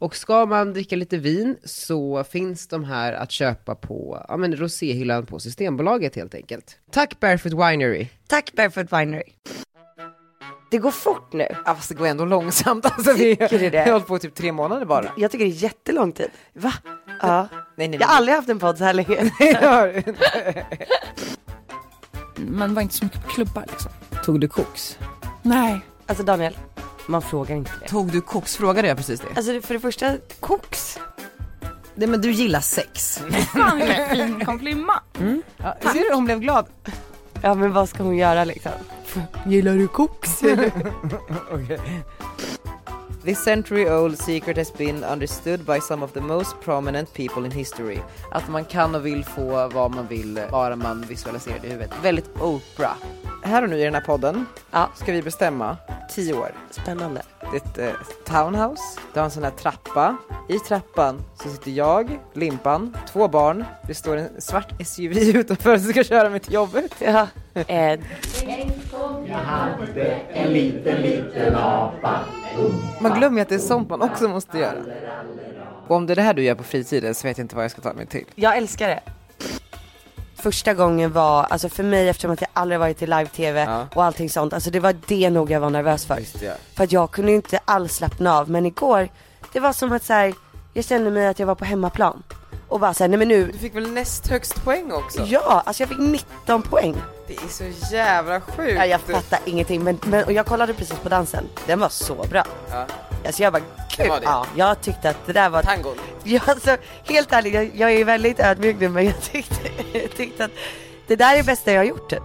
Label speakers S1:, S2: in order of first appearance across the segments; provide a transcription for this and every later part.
S1: Och ska man dricka lite vin så finns de här att köpa på ja, men roséhyllan på Systembolaget helt enkelt. Tack Barefoot Winery!
S2: Tack Barefoot Winery. Det går fort nu.
S1: Ja fast det går ändå långsamt. Alltså, vi
S2: Tycker du det?
S1: vi har hållit på i typ tre månader bara.
S2: Jag tycker det är jättelång tid. Va? Ja.
S1: Nej, nej,
S2: Jag har aldrig haft en podd så här länge.
S1: nej.
S3: Man var inte så mycket på klubbar liksom.
S1: Tog du koks?
S3: Nej.
S2: Alltså Daniel, man frågar inte det.
S1: Tog du koks? Frågade jag precis det?
S2: Alltså för det första, koks.
S1: Nej men du gillar sex.
S3: Fan vilken fin komplimang.
S1: Ja, ser du hon blev glad?
S2: Ja men vad ska hon göra liksom? Gillar du koks?
S4: This century old secret has been understood by some of the most prominent people in history. Att man kan och vill få vad man vill bara man visualiserar det i huvudet. Väldigt Oprah. Här och nu i den här podden
S2: Ja.
S4: ska vi bestämma 10 år.
S2: Spännande.
S4: Det är ett eh, townhouse, det har en sån här trappa. I trappan så sitter jag, Limpan, två barn. Det står en svart SUV utanför som ska köra mig till jobbet.
S2: Ja. Eh,
S4: Man glömmer ju att det är sånt man också måste göra. Och om det är det här du gör på fritiden så vet jag inte vad jag ska ta mig till.
S2: jag älskar det. Första gången var, alltså för mig eftersom att jag aldrig varit i live-tv
S4: Ja.
S2: och allting sånt, alltså det var det nog jag var nervös för.
S4: Just det.
S2: För att jag kunde ju inte alls slappna av, men igår, det var som att så här, jag kände mig att jag var på hemmaplan. Och bara såhär, nej men nu,
S4: Du fick väl näst högst poäng också?
S2: ja, alltså jag fick 19 poäng.
S4: Det är så jävla sjukt.
S2: Ja, jag fattar ingenting men, men och jag kollade precis på dansen, den var så bra.
S4: Ja.
S2: Alltså jag bara gud,
S4: var det.
S2: ja, jag tyckte att det där var,
S4: Tangon.
S2: ja, alltså, helt ärligt jag, jag är väldigt ödmjuk nu men jag tyckte, jag tyckte att det där är det bästa jag har gjort typ.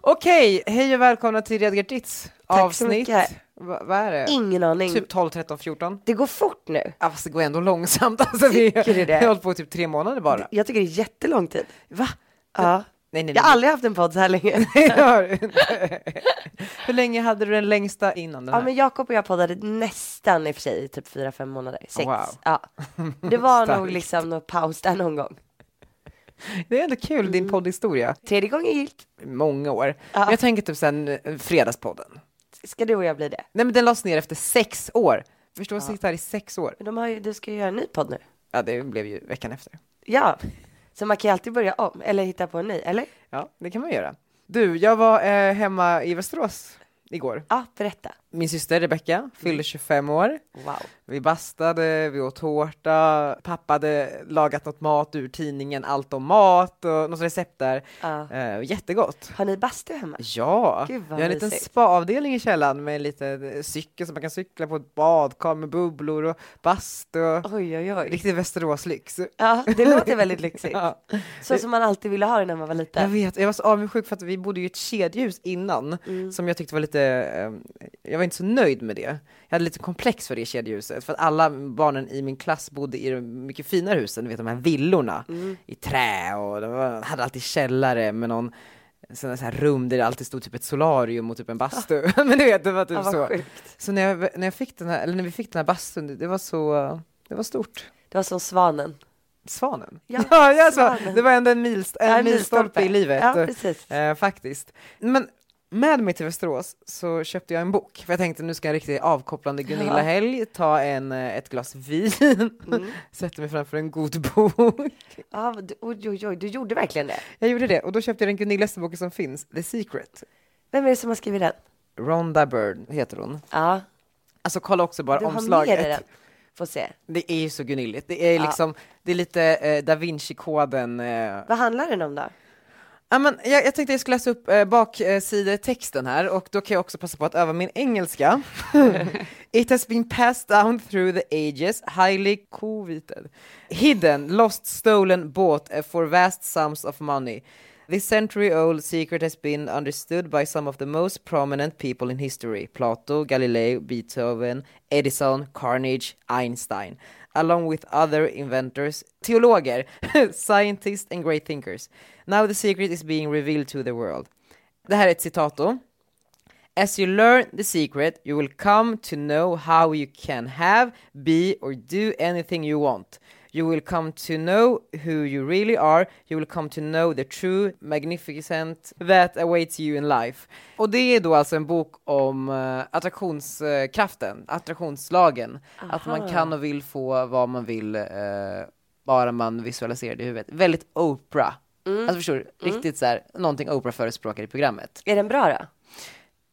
S4: Okej, hej och välkomna till Redgar Ditz
S2: så
S4: avsnitt.
S2: mycket.
S4: Va- Vad är det?
S2: Ingen aning.
S4: Typ 12, 13, 14.
S2: Det går fort nu.
S4: Ja, fast det går ändå långsamt. Alltså, vi
S2: Tycker du det?
S4: har hållit på i typ tre månader bara.
S2: Jag tycker det är jättelång tid.
S4: Va?
S2: Ja.
S4: Nej, nej,
S2: Jag har
S4: nej.
S2: aldrig haft en podd så här länge.
S4: Jag har inte. Hur länge hade du den längsta innan den
S2: Ja
S4: här?
S2: men Jakob och jag poddade nästan i och för sig i typ 4-5 månader. Sex.
S4: Wow.
S2: Ja. Det var nog
S4: Starkt.
S2: liksom någon paus där någon gång.
S4: Det är ändå kul, din poddhistoria.
S2: Tredje gången gillt.
S4: Många år.
S2: Ja.
S4: Jag tänker typ sen eh, Fredagspodden.
S2: Ska du och jag bli det?
S4: Nej, men den lades ner efter sex år. Förstå att sitta här i sex år.
S2: Men de har ju, du ska ju göra en ny podd nu.
S4: Ja, det blev ju veckan efter.
S2: Ja, så man kan ju alltid börja om eller hitta på en ny, eller?
S4: Ja, det kan man göra. Du, jag var eh, hemma i Västerås igår.
S2: Ja, berätta.
S4: Min syster Rebecka fyllde 25 år.
S2: Wow.
S4: Vi bastade, vi åt tårta, pappa hade lagat något mat ur tidningen Allt om mat och något recept där.
S2: Ja.
S4: Eh, jättegott.
S2: Har ni bastu hemma?
S4: Ja,
S2: Gud,
S4: jag
S2: vad
S4: har en liten
S2: mysigt.
S4: spaavdelning i källaren med lite cykel som man kan cykla på ett badkar med bubblor och bastu. och
S2: Oj, oj, oj.
S4: Riktig Västerås-lyx.
S2: Ja, det låter väldigt lyxigt.
S4: Ja.
S2: Så som man alltid ville ha det när man var
S4: Jag
S2: liten.
S4: vet, jag var så avundsjuk för att vi bodde ju i ett kedjehus innan
S2: Mm.
S4: som jag tyckte var lite, eh, jag var inte så nöjd med det. Jag hade lite komplex för det kedjehuset för att alla barnen i min klass bodde i de mycket finare husen, du vet de här villorna
S2: Mm.
S4: i trä och de var- hade alltid källare med någon sådana här rum där det alltid stod typ ett solarium och typ en bastu. Men du vet, det var typ
S2: Ah. Ja,
S4: så.
S2: vad sjukt.
S4: Så när, jag, när jag fick den här, eller när vi fick den här bastun, det- det var så, det var stort.
S2: Det var som svanen.
S4: Svanen.
S2: Ja,
S4: jag sa-
S2: svanen.
S4: det var ändå en, milst, en,
S2: Ja, en
S4: milstolpe.
S2: milstolpe.
S4: i livet.
S2: Ja, precis.
S4: Eh, faktiskt. Men med mig till Västerås så köpte jag en bok, för jag tänkte nu ska jag en riktigt avkopplande Gunilla-helg ta en, eh, ett glas vin,
S2: Mm.
S4: sätta mig framför en god bok.
S2: Ja, vad- oj, oj, oj, du gjorde verkligen det.
S4: Jag gjorde det och då köpte jag den Gunillaste boken som finns, The Secret.
S2: Vem är det som har skrivit den?
S4: Rhonda Byrne heter hon.
S2: Ja,
S4: Alltså kolla också bara
S2: du har med
S4: omslaget.
S2: dig den. Får se.
S4: Det är ju så Gunilligt. Det är
S2: Ja.
S4: liksom, det är lite eh, Da Vinci-koden. Eh.
S2: Vad handlar den om då?
S4: Ja, men jag, jag tänkte jag skulle läsa upp eh, baksidetexten här och då kan jag också passa på att öva min engelska. It has been passed down through the ages, highly coveted, hidden, lost, stolen, bought eh, for vast sums of money. This century old secret has been understood by some of the most prominent people in history. Plato, Galileo, Beethoven, Edison, Carnegie, Einstein. Along with other inventors, teologer, scientists and great thinkers. Now the secret is being revealed to the world. Det här är ett citat då. As you learn the secret, you will come to know how you can have, be, or do anything you want. You will come to know who you really are, you will come to know the true magnificent that awaits you in life. Och det är då alltså en bok om eh, attraktionskraften, attraktionslagen. Att man kan och vill få vad man vill, eh, bara man visualiserar det i huvudet. Väldigt Oprah. Alltså förstår du? Riktigt så här, någonting Oprah förespråkar i programmet.
S2: Är den bra då?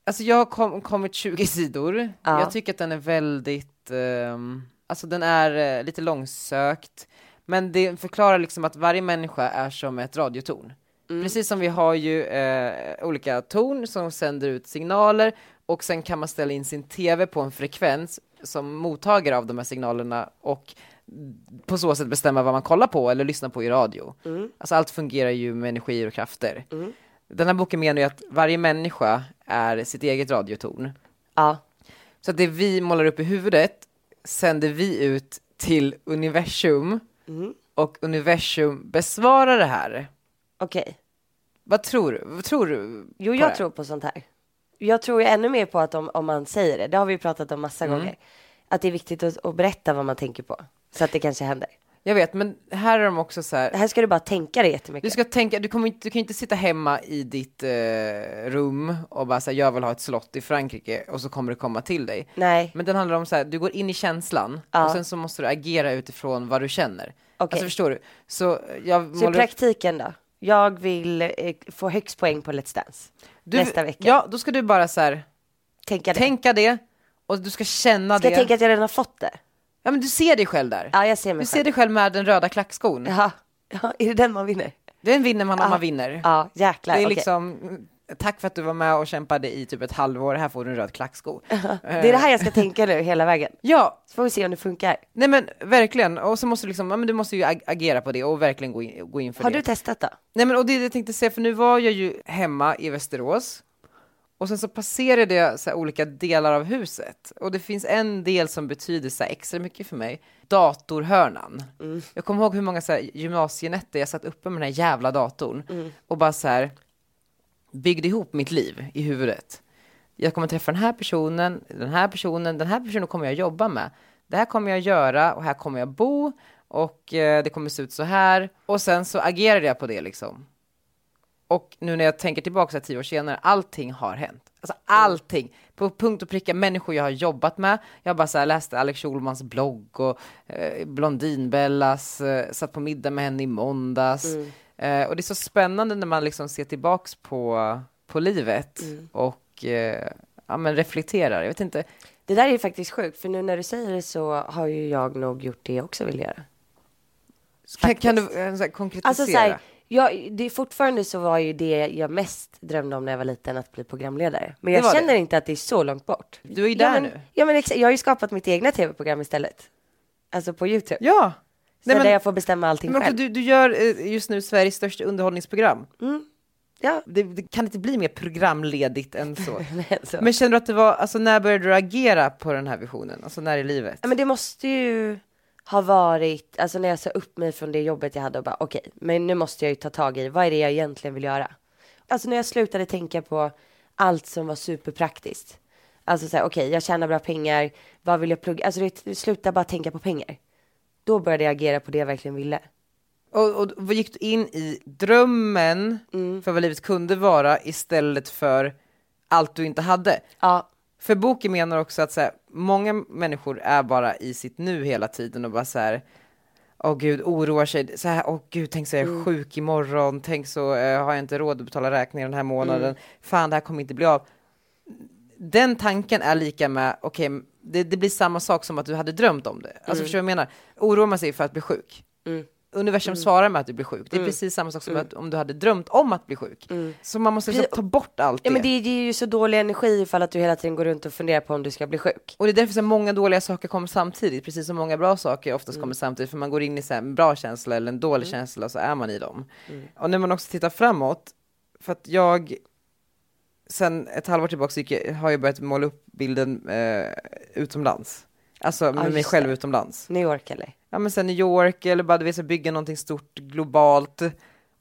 S4: Alltså jag har kom, kommit 20 sidor.
S2: Ja.
S4: Jag tycker att den är väldigt, ehm, alltså den är eh, lite långsökt. Men det förklarar liksom att varje människa är som ett radiotorn. Precis som vi har ju eh, olika torn som sänder ut signaler och sen kan man ställa in sin TV på en frekvens som mottagare av de här signalerna och på så sätt bestämma vad man kollar på eller lyssnar på i radio. Alltså allt fungerar ju med energier och krafter. Den här boken menar ju att varje människa är sitt eget radiotorn.
S2: Ja.
S4: Så att det vi målar upp i huvudet sänder vi ut till universum och universum besvarar det här.
S2: Okej.
S4: Vad tror du? Vad tror du?
S2: Jo,
S4: på
S2: jag
S4: det?
S2: tror på sånt här. Jag tror ju ännu mer på att om, om man säger det, det har vi ju pratat om massa
S4: Mm.
S2: gånger, att det är viktigt att, att berätta vad man tänker på så att det kanske händer.
S4: Jag vet, men här är de också så här.
S2: Det här ska du bara tänka dig
S4: Du
S2: jättemycket.
S4: ska tänka, du, kommer inte, du kan inte sitta hemma i ditt eh, rum och bara säga jag vill ha ett slott i Frankrike och så kommer det komma till dig.
S2: Nej.
S4: Men den handlar om så här, du går in i känslan
S2: Ja.
S4: och sen så måste du agera utifrån vad du känner.
S2: Okej.
S4: Alltså förstår du? Så eh, jag
S2: Så i
S4: målar upp
S2: praktiken då? Jag vill eh, få högst poäng på Let's Dance
S4: Du-
S2: nästa vecka.
S4: Ja, då ska du bara så här,
S2: tänka det.
S4: tänka det och du ska känna
S2: ska
S4: det.
S2: jag tänka att jag redan har fått det?
S4: Ja, men du ser dig själv där.
S2: Ja, jag ser mig
S4: du
S2: själv.
S4: ser dig själv med den röda klackskon.
S2: Jaha. Ja, är det den man vinner?
S4: Den vinner man om man vinner.
S2: Ja, jäklar.
S4: det är
S2: okej.
S4: liksom, tack för att du var med och kämpade i typ ett halvår, här får du en röd klacksko. Eh,
S2: det är det här jag ska tänka nu hela vägen.
S4: Ja,
S2: Så får vi se om det funkar.
S4: nej men verkligen. Och så måste du liksom, ja, men du måste ju ag- agera på det och verkligen gå in, gå in för
S2: Har
S4: det.
S2: du testat då?
S4: Nej men och det är det jag tänkte säga, för nu var jag ju hemma i Västerås och sen så passerade jag så här, olika delar av huset och det finns en del som betyder så här, extra mycket för mig, datorhörnan. Jag kommer ihåg hur många så här, gymnasienätter jag satt uppe med den här jävla datorn och bara så här byggde ihop mitt liv i huvudet. Jag kommer träffa den här personen, den här personen, den här personen kommer jag jobba med. Det här kommer jag göra och här kommer jag bo och eh, det kommer se ut så här. Och sen så agerade jag på det liksom. Och nu när jag tänker tillbaka så här tio år senare, allting har hänt. Alltså allting. På punkt och pricka människor jag har jobbat med. Jag bara så här läste Alex Schulmans blogg och eh, Blondinbellas, eh, satt på middag med henne i måndags.
S2: Mm.
S4: Eh, och det är så spännande när man liksom ser tillbaks på, på livet
S2: Mm.
S4: och eh, ja, men reflekterar. Jag vet inte.
S2: Det där är ju faktiskt sjukt, för nu när du säger det så har ju jag nog gjort det jag också vill göra.
S4: Kan, kan du eh, så här, konkretisera?
S2: Alltså så här, jag, det är fortfarande så var ju det jag mest drömde om när jag var liten att bli programledare. Men
S4: Det
S2: jag
S4: var det.
S2: känner inte att det är så långt bort.
S4: Du är ju
S2: ja,
S4: där
S2: men,
S4: nu.
S2: Ja men exakt, jag har ju skapat mitt egna tv-program istället. Alltså på YouTube.
S4: Ja.
S2: så där jag får bestämma allting
S4: men också,
S2: själv.
S4: du, du gör eh, just nu Sveriges största underhållningsprogram.
S2: Mm. Ja,
S4: Det, det kan inte bli mer programledigt än så.
S2: men, så. Men,
S4: Men känner du att det var, alltså när började du agera på den här visionen? Alltså när i livet?
S2: ja, men det måste ju ha varit, alltså när jag sa upp mig från det jobbet jag hade och bara okej, men nu måste jag ju ta tag i, vad är det jag egentligen vill göra? Alltså när jag slutade tänka på allt som var superpraktiskt. Alltså såhär, okej, jag tjänar bra pengar, vad vill jag plugga? Alltså det, sluta bara tänka på pengar. Då började jag agera på det jag verkligen ville.
S4: Och, och vad gick du in i drömmen
S2: Mm.
S4: för vad livet kunde vara istället för allt du inte hade?
S2: Ja,
S4: För boken menar också att så här, många människor är bara i sitt nu hela tiden och bara så här, åh gud, oroar sig, så här, åh gud, tänk så är jag
S2: Mm.
S4: sjuk imorgon, tänk så eh, har jag inte råd att betala räkningar den här månaden,
S2: Mm.
S4: fan det här kommer inte bli av. Den tanken är lika med, okej,
S2: Mm.
S4: det, det blir samma sak som att du hade drömt om det. Alltså förstår du vad jag menar? Oroar man sig för att bli sjuk, universum
S2: Mm.
S4: svarar med att du blir sjuk. Det är precis samma sak som att, om du hade drömt om att bli sjuk. Så man måste liksom ta bort allt det.
S2: Mm. Ja men det ger ju så dålig energi ifall att du hela tiden går runt och funderar på om du ska bli sjuk.
S4: Och det är därför så här, många dåliga saker kommer samtidigt, precis som många bra saker oftast
S2: Mm.
S4: kommer samtidigt, för man går in i så här, en bra känsla eller en dålig känsla och så är man i dem.
S2: Mm.
S4: Och när man också tittar framåt, för att jag sen ett halvår tillbaka gick, jag- har jag börjat måla upp bilden eh, utomlands. Alltså med mig
S2: just
S4: själv
S2: det.
S4: utomlands.
S2: New York eller?
S4: Ja men sen New York eller bara du vet, så bygga någonting stort globalt.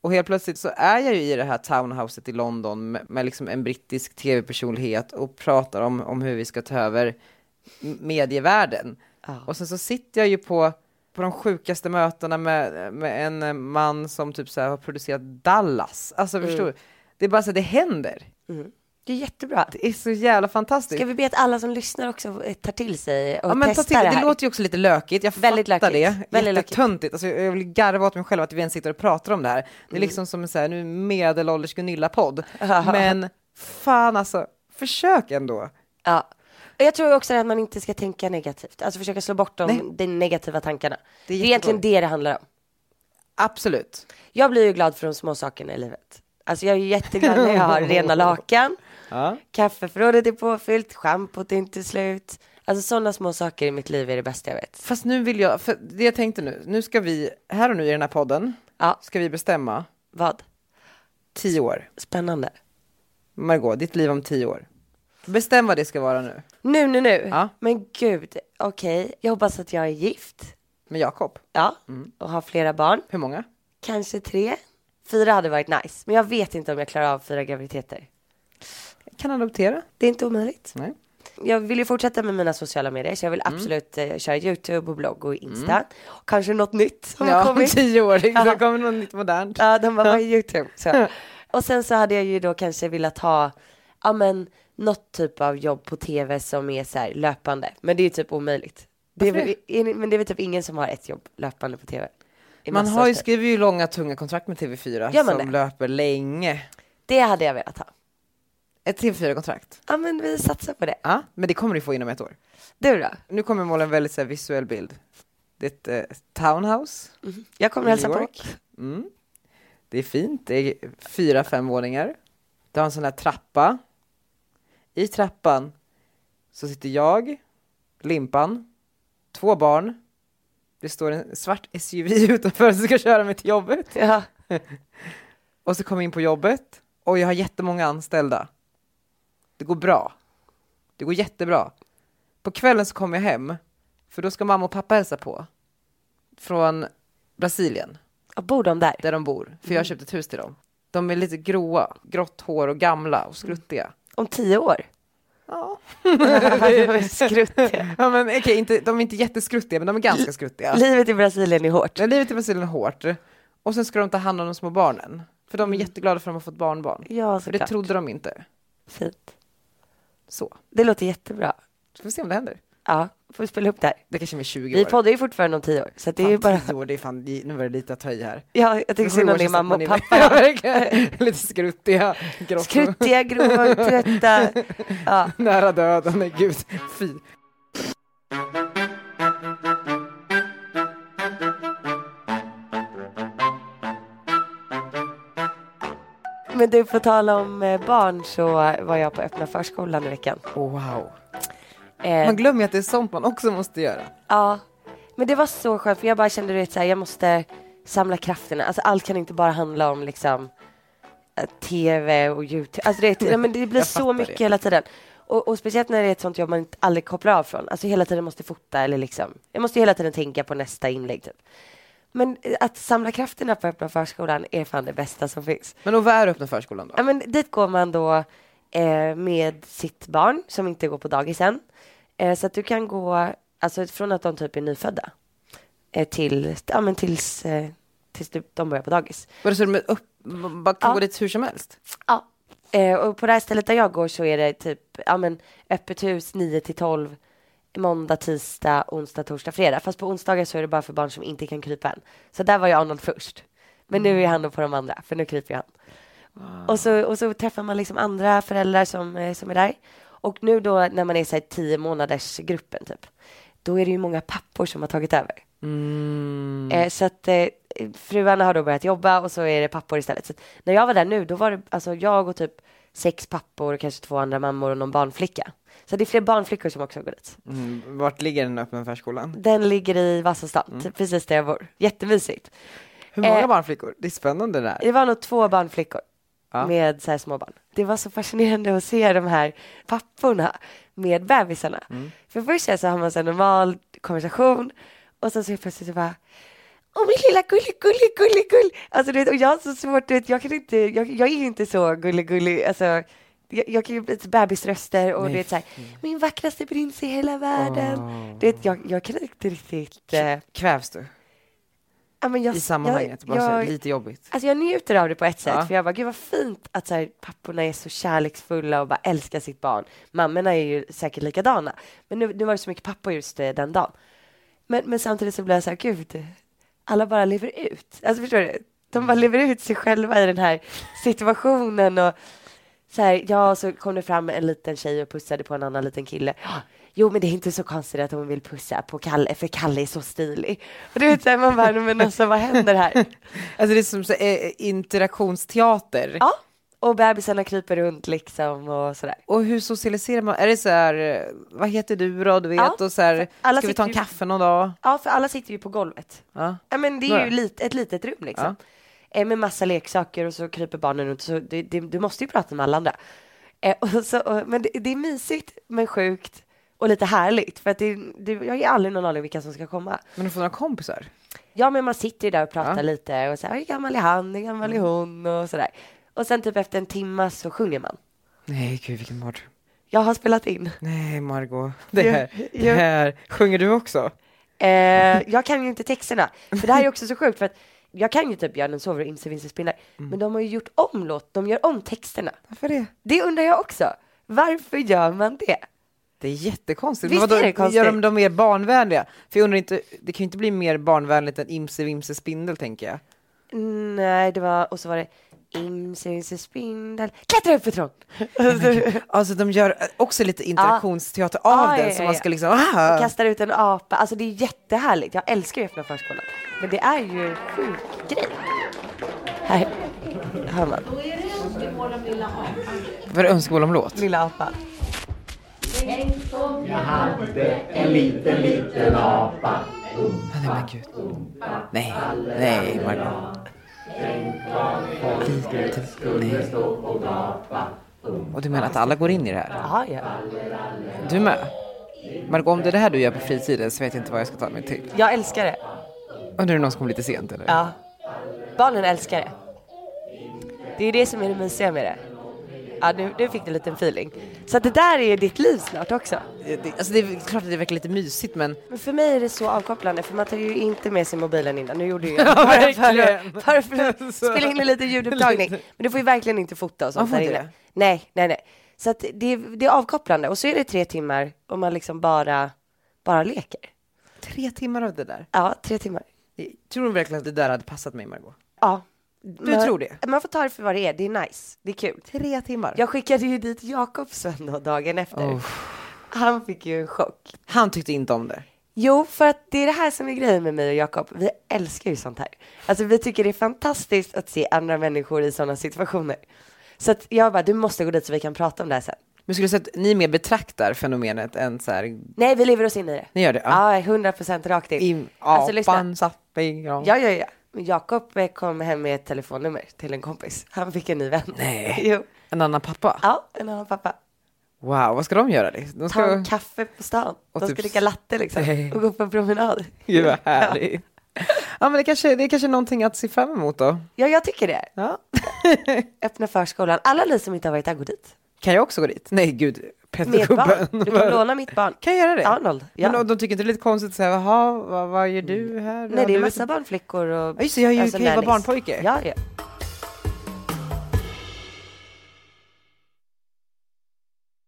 S4: Och helt plötsligt så är jag ju i det här townhouset i London med, med liksom en brittisk tv-personlighet och pratar om, om hur vi ska ta över m- medievärlden. Och sen så sitter jag ju på, på de sjukaste mötena med, med en eh, man som typ så här har producerat Dallas. Alltså förstår du? Det är bara så här, det händer.
S2: Det är jättebra.
S4: Det är så jävla fantastiskt.
S2: Ska vi be att alla som lyssnar också eh, tar till sig och
S4: Ja, men ta
S2: testar
S4: till,
S2: det
S4: det,
S2: här?
S4: låter ju också lite lökigt, jag
S2: Väldigt
S4: fattar
S2: lökigt.
S4: det.
S2: Väldigt lökigt.
S4: Jättetöntigt. Alltså, jag vill garva åt mig själv att vi ens sitter och pratar om det här.
S2: Mm.
S4: Det är liksom som en så här, nu medelålders Gunilla-podd. men fan alltså, försök ändå.
S2: Ja. Och jag tror också att man inte ska tänka negativt. Alltså försöka slå bort de, de negativa tankarna. Det är, egentligen det det handlar om.
S4: Absolut.
S2: Jag blir ju glad för de små sakerna i livet. Alltså jag är ju jätteglad när jag har rena lakan, kaffeförrådet är påfyllt, schampot är inte slut. Alltså sådana små saker i mitt liv är det bästa jag vet.
S4: Fast nu vill jag, för det jag tänkte nu, nu ska vi, här och nu i den här podden,
S2: Ja.
S4: ska vi bestämma
S2: Vad?
S4: tio år.
S2: Spännande.
S4: Margot, ditt liv om tio år. Bestäm vad det ska vara nu.
S2: Nu, nu, nu.
S4: Ja.
S2: Men gud, okej. Jag hoppas att jag är gift.
S4: Med Jakob,
S2: Ja,
S4: Mm.
S2: och har flera barn.
S4: hur många?
S2: Kanske tre. Fyra hade varit nice, men jag vet inte om jag klarar av fyra graviditeter.
S4: Kan adoptera?
S2: Det är inte omöjligt.
S4: Nej.
S2: Jag vill ju fortsätta med mina sociala medier, så jag vill
S4: Mm.
S2: absolut eh, köra YouTube och blogg och Insta. Kanske något nytt som har
S4: Ja, om
S2: kommit.
S4: tio år,
S2: Ja.
S4: det kommer något nytt modernt.
S2: Ja, de bara, vad är YouTube? Så. Och sen så hade jag ju då kanske velat ha, ja men, något typ av jobb på tv som är så här löpande. Men det är ju typ omöjligt. Det är,
S4: Varför
S2: väl- är, ni- men det är väl typ ingen som har ett jobb löpande på tv. I
S4: Man
S2: massa
S4: har ju
S2: års tid.
S4: skrivit ju långa tunga kontrakt med TV4
S2: Gör man
S4: som
S2: det?
S4: löper länge.
S2: Det hade jag velat ha.
S4: Ett TV4-kontrakt.
S2: Ja men vi satsar på det.
S4: Ja, men det kommer du få inom ett år.
S2: Du då?
S4: Nu kommer jag måla en väldigt så här, visuell bild. Det är ett eh, townhouse.
S2: Jag kommer
S4: New
S2: hälsa på.
S4: York. Mm. Det är fint. Det är fyra, fem våningar. Det har en sån här trappa. I trappan så sitter jag, Limpan, två barn. Det står en svart SUV utanför som ska köra mig till jobbet.
S2: Ja.
S4: och så kom jag in på jobbet och jag har jättemånga anställda. Det går bra. Det går jättebra. På kvällen så kommer jag hem, för då ska mamma och pappa hälsa på. Från Brasilien,
S2: Ja, Bor de där?
S4: där de bor, för jag har
S2: Mm.
S4: köpt ett hus till dem. De är lite gråa, grått hår och gamla och skruttiga.
S2: Om tio år?
S4: Ja.
S2: Skruttiga.
S4: ja men okej, inte, de är inte jätteskruttiga, men de är ganska skruttiga.
S2: Livet i Brasilien är hårt.
S4: Ja, livet i Brasilien är hårt. Och sen ska de ta hand om de små barnen. För de är jätteglada för att de har fått barnbarn.
S2: Mm. Ja,
S4: För det
S2: såklart.
S4: trodde de inte.
S2: Fint.
S4: Så,
S2: Det låter jättebra.
S4: så får vi se om det händer.
S2: Ja, får vi spela upp där.
S4: Det kanske är med 20
S2: Vi
S4: år.
S2: poddar ju fortfarande om tio år, så att det är ju bara...
S4: Fan, 10 år, det är fan, nu var det lite att ta i här.
S2: Ja, jag
S4: Det
S2: tycker
S4: var
S2: synd
S4: sju år
S2: om din
S4: sedan
S2: mamma
S4: man
S2: och
S4: är-
S2: pappa.
S4: verkligen. lite skruttiga, grått och
S2: Skruttiga, grova, trötta. Ja.
S4: nära döden. Nej, gud, fy.
S2: Men du, på tal om eh, barn så var jag på öppna förskolan i veckan.
S4: Wow.
S2: Eh,
S4: Man glömmer ju att det är sånt man också måste göra.
S2: ja, men det var så skönt för jag bara kände du vet så här, jag måste samla krafterna. Alltså allt kan inte bara handla om liksom eh, tv och youtube. Alltså det, nej, men det blir
S4: Jag
S2: så
S4: fattar
S2: mycket
S4: det.
S2: hela tiden. Och, och speciellt när det är ett sånt jobb man inte aldrig kopplar av från. Alltså hela tiden måste fota eller liksom. Jag måste ju hela tiden tänka på nästa inlägg typ. Men eh, att samla krafterna på öppna förskolan är fan det bästa som finns.
S4: Men och vad är öppna förskolan då?
S2: Ja, men dit går man då eh, med sitt barn som inte går på dagis än. Eh, så att du kan gå, alltså från att de typ är nyfödda eh, till, ja men tills, eh, tills du, de börjar på dagis.
S4: Var det så de är upp, bara kan gå dit hur som helst?
S2: Ja. Eh, och på det här stället där jag går så är det typ, ja men öppet hus 9 till 12 måndag, tisdag, onsdag, torsdag, fredag. Fast på onsdagar så är det bara för barn som inte kan krypa än. Så där var ju Arnold först. Men nu är han då på de andra, för nu kryper ju han. Och så, och så träffar man liksom andra föräldrar som, eh, som är där. Och nu då när man är så här tio månaders
S4: Mm,
S2: gruppen typ, då är det ju många pappor som har tagit över. Eh, så att eh, eh, fruarna har då börjat jobba och så är det pappor istället. Så att när jag var där nu, då var det alltså jag och typ sex pappor och kanske två andra mammor och någon barnflicka. Så det är fler barnflickor som också går dit.
S4: Mm. Vart ligger den öppna förskolan?
S2: Den ligger i Vasastan, typ precis där jag bor. Jättemysigt.
S4: Hur många
S2: Eh.
S4: barnflickor? Det är spännande det här.
S2: Det var nog två barnflickor
S4: Ja.
S2: med så här små barn. Det var så fascinerande att se de här papporna med bebisarna.
S4: Mm.
S2: För först så har man så här normal konversation och sen så helt plötsligt så bara Åh min lilla gullig, gullig, gullig, gull. Alltså du vet, och jag har så svårt, du vet, jag kan inte, jag, jag är inte så gullig, gullig, alltså jag, jag kan ju bli lite bebisröster och
S4: Nej,
S2: du vet så här, min vackraste prins i hela världen. Du vet, jag, jag kan inte riktigt, eh,
S4: Kvävs du
S2: ja, men jag,
S4: i sammanhanget? Bara
S2: jag,
S4: så här,
S2: jag,
S4: lite jobbigt.
S2: Alltså jag njuter av det på ett sätt,
S4: Ja.
S2: för jag bara, gud vad fint att så här, papporna är så kärleksfulla och bara älskar sitt barn. Mammorna är ju säkert likadana, men nu, nu var det så mycket pappor just eh, den dagen. Men, men samtidigt så blir jag så här, gud, alla bara lever ut. Alltså förstår du? De bara lever ut sig själva i den här situationen och så här, ja, så kom det fram en liten tjej och pussade på en annan liten kille. Ja, Jo, men det är inte så konstigt att hon vill pussa på Kalle, för Kalle är så stilig. Och du vet, så här, man bara, men alltså vad händer här?
S4: Alltså det är som så, eh, interaktionsteater.
S2: Ja, och bebisarna kryper runt liksom och sådär.
S4: Och hur socialiserar man? Är det så här, eh, vad heter du då? Du vet,
S2: Ja.
S4: och så här,
S2: Alla
S4: ska vi
S2: sitter
S4: ta en
S2: ju-
S4: kaffe någon dag?
S2: Ja, för alla sitter ju på golvet.
S4: Ja.
S2: Ja, men det är
S4: Nåja.
S2: ju lit, ett litet rum liksom. Eh, med massa leksaker och så kryper barnen runt. Så det, det, du måste ju prata med alla andra. Eh, och så, och, men det, det är mysigt, men sjukt och lite härligt. För att det, det, jag har aldrig någon aning vilka som ska komma.
S4: Men du får några kompisar?
S2: Ja, men man sitter ju där och pratar
S4: Ja.
S2: lite och så här, hur gammal är han, hur gammal är hon och sådär. Och sen typ efter en timma så sjunger man.
S4: Nej, gud vilken mardröm.
S2: Jag har spelat in.
S4: Nej, Margot. Det
S2: Jo,
S4: här, det
S2: jo.
S4: här. Sjunger du också?
S2: Eh, jag kan ju inte texterna. För det här är också så sjukt för att jag kan ju typ Björnen sover och Imse Vimse spinner. Men de har ju gjort om låt, de gör om texterna.
S4: Varför det?
S2: Det undrar jag också. Varför gör man det?
S4: Det är jättekonstigt.
S2: Visst
S4: Men vadå,
S2: är det konstigt?
S4: Gör de dem mer barnvänliga? För jag undrar inte, det kan ju inte bli mer barnvänligt än Imse Vimse Spindel tänker jag.
S2: Nej, det var, och så var det Imse Vimse spindel, klättra upp för tron.
S4: Alltså de gör eh, också lite interaktionsteater av
S2: Ah,
S4: den
S2: ja,
S4: så
S2: ja,
S4: man
S2: ja.
S4: ska liksom, ah!
S2: Kastar ut en apa. Alltså det är jättehärligt. Jag älskar ju öppna förskolan. Men det är ju en sjuk grej. Här hör man.
S4: Var det önskemål om låt?
S2: Lilla apa.
S4: Ah, nej men gud. Nej, nej Margot. Lite, nej. Och du menar att alla går in i det här?
S2: Ja, ja.
S4: Du med? Margot, om det är det här du gör på fritiden så vet jag inte vad jag ska ta mig till.
S2: Jag älskar det.
S4: Undrar du någon som kommer lite sent eller?
S2: Ja. Barnen älskar det. Det är det som är det mysiga med det. Ja, nu, nu fick du en liten feeling. Så att det där är ditt liv snart också.
S4: Det, det- alltså det är klart att det verkar lite mysigt men
S2: Men för mig är det så avkopplande för man tar ju inte med sig mobilen innan. Nu gjorde ju jag bara för,
S4: verkligen.
S2: bara för att
S4: Alltså.
S2: spela in en liten ljudupptagning. Men du får ju verkligen inte fota och sånt
S4: Man får
S2: där
S4: inte
S2: inne.
S4: det?
S2: Nej, nej, nej. Så att det, det är avkopplande och så är det tre timmar och man liksom bara, bara leker.
S4: tre timmar av det där.
S2: Ja, tre timmar.
S4: Tror du verkligen att det där hade passat mig Margot?
S2: Ja. man,
S4: tror det?
S2: Man får ta det för vad det är. Det är nice. Det är kul.
S4: Tre timmar?
S2: Jag skickade ju dit Jakobsson då dagen efter. Han fick ju en chock.
S4: Han tyckte inte om det.
S2: Jo, för att det är det här som är grejen med mig och Jakob. Vi älskar ju sånt här. Alltså vi tycker det är fantastiskt att se andra människor i sådana situationer. Så att jag bara, du måste gå dit så vi kan prata om det här sen.
S4: Men skulle du säga att ni mer betraktar fenomenet än så här,
S2: Nej, vi lever oss in i det.
S4: ni gör det?
S2: Ja, hundra procent rakt in.
S4: I,
S2: Alltså, lyssna.
S4: apan satt i gran.
S2: Ja, ja, ja. Men Jakob eh, kom hem med ett telefonnummer till en kompis. Han fick en ny vän.
S4: Nej.
S2: Jo.
S4: En annan pappa?
S2: Ja, en annan pappa.
S4: Wow, vad ska de göra? det? De
S2: Ta
S4: ska...
S2: en kaffe på stan.
S4: Och
S2: De ska
S4: typ-
S2: dricka latte liksom.
S4: Nej.
S2: Och gå på en promenad.
S4: Gud vad härligt. Ja, men det kanske, det är kanske någonting att se fram emot då.
S2: Ja, jag tycker det.
S4: Ja.
S2: Öppna förskolan. Alla ni som inte har varit där, gå dit.
S4: Kan jag också gå dit? Nej, gud.
S2: Med barn. Du kan
S4: Pettergubben.
S2: låna mitt barn.
S4: Kan jag göra det?
S2: Arnold. Ja. Mm.
S4: Men de, de tycker inte det är lite konstigt att säga, jaha, vad, vad gör du här?
S2: Nej, det
S4: Du
S2: är
S4: vet
S2: massa
S4: inte.
S2: barnflickor och...
S4: Ja, just det, jag är ju- kan ju vara
S2: nannies.
S4: barnpojke.
S2: Ja, ja.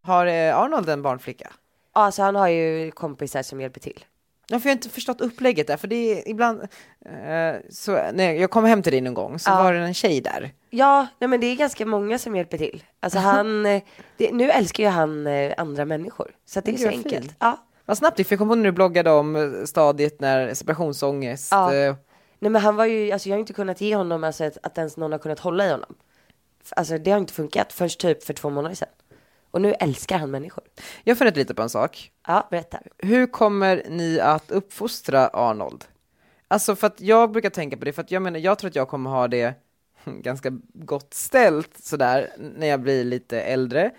S4: Har eh, Arnold en barnflicka?
S2: Ja, Alltså han har ju kompisar som hjälper till.
S4: Ja, för jag har inte förstått upplägget där, för det är ibland... Eh, så, nej, jag kom hem till dig någon gång, så
S2: Ja.
S4: var det en tjej där.
S2: Ja, nej men det är ganska många som hjälper till. Alltså han, eh, det, nu älskar ju han eh, andra människor. Så att det är
S4: Men
S2: så
S4: gud, vad
S2: enkelt.
S4: fint.
S2: Ja.
S4: Vad snabbt det gick, för jag kommer ihåg när du bloggade om eh, stadiet när separationsångest
S2: Ja.
S4: eh,
S2: Nej men han var ju, alltså jag har inte kunnat ge honom alltså ett, att ens någon har kunnat hålla i honom. F- Alltså det har inte funkat förrän typ för två månader sedan. Och nu älskar han människor.
S4: Jag har funderat lite på en sak.
S2: Ja, berätta.
S4: Hur kommer ni att uppfostra Arnold? Alltså för att jag brukar tänka på det, för att jag menar, jag tror att jag kommer ha det ganska gott ställt sådär när jag blir lite äldre.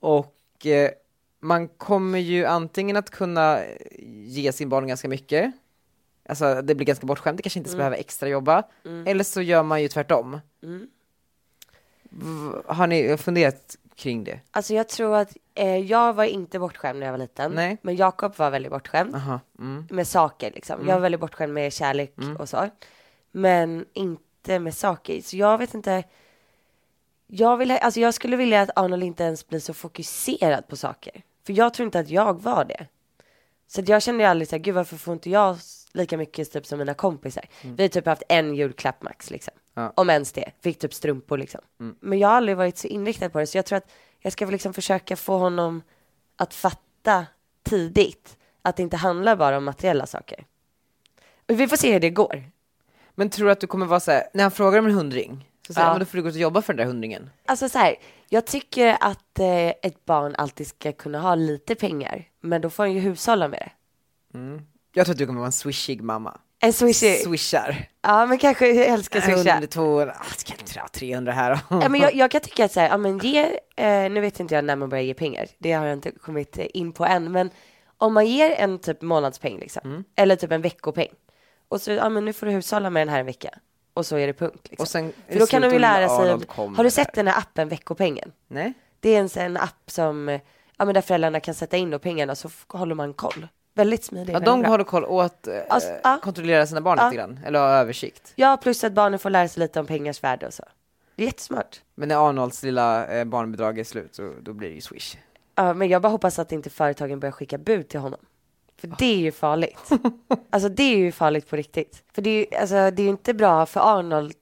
S4: Och eh, man kommer ju antingen att kunna eh, ge sin barn ganska mycket, alltså det blir ganska bortskämt, det kanske inte ens behöver extra jobba. Eller så gör man ju tvärtom. V- Har ni funderat kring det?
S2: Alltså jag tror att eh, jag var inte bortskämd när jag var liten.
S4: Nej.
S2: Men Jakob var väldigt bortskämd
S4: Aha, mm.
S2: med saker liksom. Jag var väldigt bortskämd med kärlek och så. Men inte med saker. Så jag vet inte. Jag, vill, alltså jag skulle vilja att Arnold inte ens blir så fokuserad på saker. För jag tror inte att jag var det. Så att jag kände ju aldrig så här, gud varför får inte jag s- lika mycket typ som mina kompisar?
S4: Mm.
S2: Vi har typ haft en julklapp max liksom.
S4: Ja.
S2: Om ens det. Fick typ strumpor liksom. Men jag har aldrig varit så inriktad på det. Så jag tror att jag ska väl liksom försöka få honom att fatta tidigt att det inte handlar bara om materiella saker. Och vi får se hur det går.
S4: Men tror du att du kommer vara såhär, när han frågar om en hundring, så säger
S2: Ja.
S4: ja. men då får du gå ut och jobba för den där hundringen.
S2: Alltså så här, jag tycker att eh, ett barn alltid ska kunna ha lite pengar, men då får han ju hushålla med det.
S4: Jag tror att du kommer vara en swishig mamma.
S2: En swishy.
S4: Swishar.
S2: Ja, men kanske jag älskar swisha.
S4: 100, 200, ah, ska jag inte ha 300 här.
S2: Ja, men jag, jag kan tycka att så här, ja men ge, eh, nu vet inte jag när man börjar ge pengar, det har jag inte kommit eh, in på än, men om man ger en typ månadspeng liksom,
S4: Mm.
S2: eller typ en veckopeng, och så, ja men nu får du hushålla med den här en vecka, och så är det punkt liksom.
S4: Och sen-
S2: För då kan de ju lära sig,
S4: Arnold kommer
S2: har du sett
S4: där.
S2: den här appen veckopengen?
S4: Nej?
S2: Det är en, så här, en app som, eh, ja men där föräldrarna kan sätta in då pengarna så f- håller man koll. Väldigt smidig.
S4: Ja,
S2: väldigt
S4: de
S2: bra.
S4: håller koll åt, eh,
S2: Alltså, ja.
S4: kontrollera sina barn
S2: Ja.
S4: lite grann, eller ha översikt.
S2: ja, plus att barnen får lära sig lite om pengars värde och så. Det är jättesmart.
S4: Men när Arnolds lilla eh, barnbidrag är slut, så, då blir det ju swish.
S2: Ja, men jag bara hoppas att inte företagen börjar skicka bud till honom. För det är ju farligt. Alltså det är ju farligt på riktigt. För det är ju alltså, det är ju inte bra för Arnold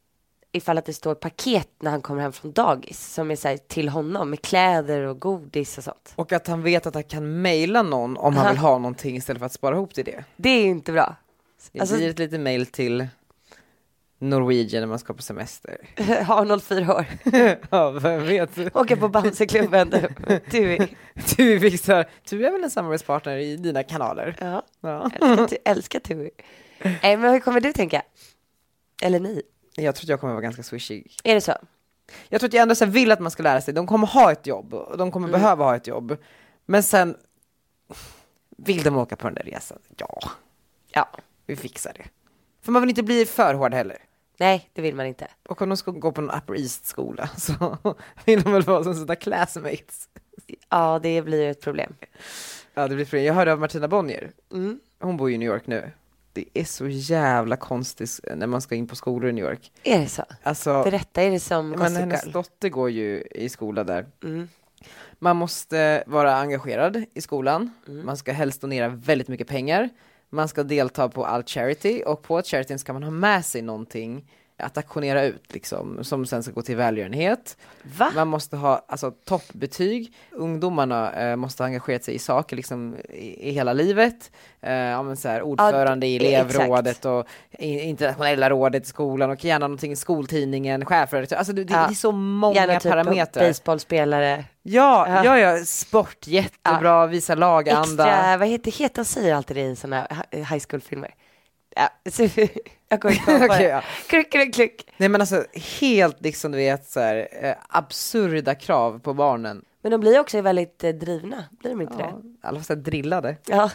S2: ifall att det står paket när han kommer hem från dagis som är så här, till honom med kläder och godis och sånt.
S4: Och att han vet att han kan mejla någon om han
S2: Ja.
S4: vill ha någonting istället för att spara ihop till det.
S2: Det är ju inte bra.
S4: Det
S2: Alltså-
S4: blir ett litet mejl till Norwegian när man ska på semester.
S2: Arnold fyra år,
S4: ja, vem vet?
S2: åker på Bamseklubben. Du, är-
S4: Du fixar, du är väl en samarbetspartner i dina kanaler?
S2: ja,
S4: Ja.
S2: älskar, tu, älskar Tui. Nej, men hur kommer du tänka? Eller ni?
S4: Jag tror att jag kommer vara ganska swishig.
S2: Är det så?
S4: Jag tror att jag ändå så här vill att man ska lära sig, de kommer ha ett jobb, och de kommer behöva ha ett jobb. Men sen, vill de åka på den där resan? Ja,
S2: Ja.
S4: vi fixar det. För man vill inte bli för hård heller.
S2: Nej, det vill man inte.
S4: Och om de ska gå på en Upper East-skola så vill de väl vara som sina classmates.
S2: Ja, det blir ju ett problem.
S4: Ja, det blir för... Jag hörde av Martina Bonnier,
S2: Mm.
S4: hon bor ju i New York nu. Det är så jävla konstigt när man ska in på skolor i New York.
S2: Är det så?
S4: Alltså,
S2: Berätta, är det som
S4: men
S2: Gossip
S4: hennes
S2: Girl?
S4: dotter går ju i skola där.
S2: Mm.
S4: Man måste vara engagerad i skolan,
S2: Mm.
S4: man ska helst donera väldigt mycket pengar, man ska delta på all charity och på charityn ska man ha med sig någonting att auktionera ut liksom, som sen ska gå till välgörenhet.
S2: Va?
S4: Man måste ha alltså, toppbetyg, ungdomarna eh, måste ha engagerat sig i saker liksom, i, i hela livet. Eh, ja, men så här, ordförande i
S2: d- e-
S4: elevrådet och i, internationella rådet i skolan och gärna någonting i skoltidningen, chefredaktör, alltså det, det,
S2: Ja.
S4: det är så många
S2: Gärna typ
S4: parametrar.
S2: baseballspelare.
S4: Ja, ja, ja, sport, jättebra, visa laganda.
S2: Extra, vad heter, heter de säger alltid det i sådana high school-filmer. Ja, så, jag kommer inte komma på
S4: Okej,
S2: det.
S4: ja.
S2: Kluck, kluck, kluck.
S4: Nej men alltså helt liksom du vet så här, eh, absurda krav på barnen.
S2: Men de blir också väldigt eh, drivna, blir de inte
S4: Ja,
S2: det?
S4: alla fast drillade.
S2: Ja.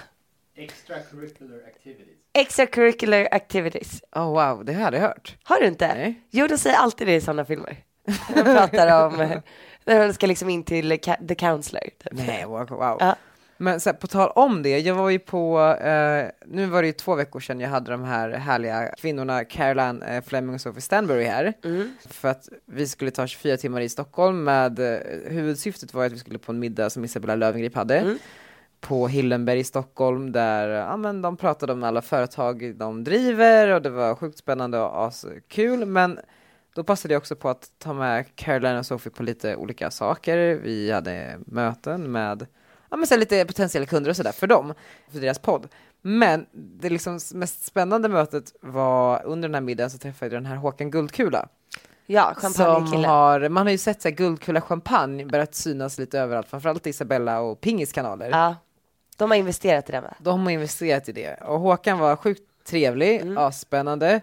S5: Extracurricular activities.
S2: Extracurricular activities.
S4: Oh wow, det har jag aldrig hört.
S2: Har du inte?
S4: Nej.
S2: Jo, de säger alltid det i sådana filmer. De pratar om eh, när de ska liksom in till ca- the counselor. Typ.
S4: Nej, wow. wow.
S2: Ja.
S4: Men så här, på tal om det, jag var ju på, eh, nu var det ju två veckor sedan jag hade de här härliga kvinnorna Caroline eh, Fleming och Sophie Stanbury här.
S2: Mm,
S4: För att vi skulle ta 24 timmar i Stockholm med, eh, huvudsyftet var ju att vi skulle på en middag som Isabella Löwengrip hade.
S2: mm.
S4: på Hillenberg i Stockholm där ja, men de pratade om alla företag de driver och det var sjukt spännande och askul. Men då passade jag också på att ta med Caroline och Sophie på lite olika saker. Vi hade möten med ja, men så här lite potentiella kunder och sådär för dem, för deras podd. Men det liksom mest spännande mötet var under den här middagen så träffade jag den här Håkan Guldkula.
S2: Ja,
S4: Som
S2: champagnekille.
S4: har, man har ju sett så här Guldkula champagne börjat synas lite överallt, framförallt i Isabella och Pingis kanaler.
S2: Ja. De har investerat i den va?
S4: De har investerat i det. Och Håkan var sjukt trevlig,
S2: Mm.
S4: asspännande.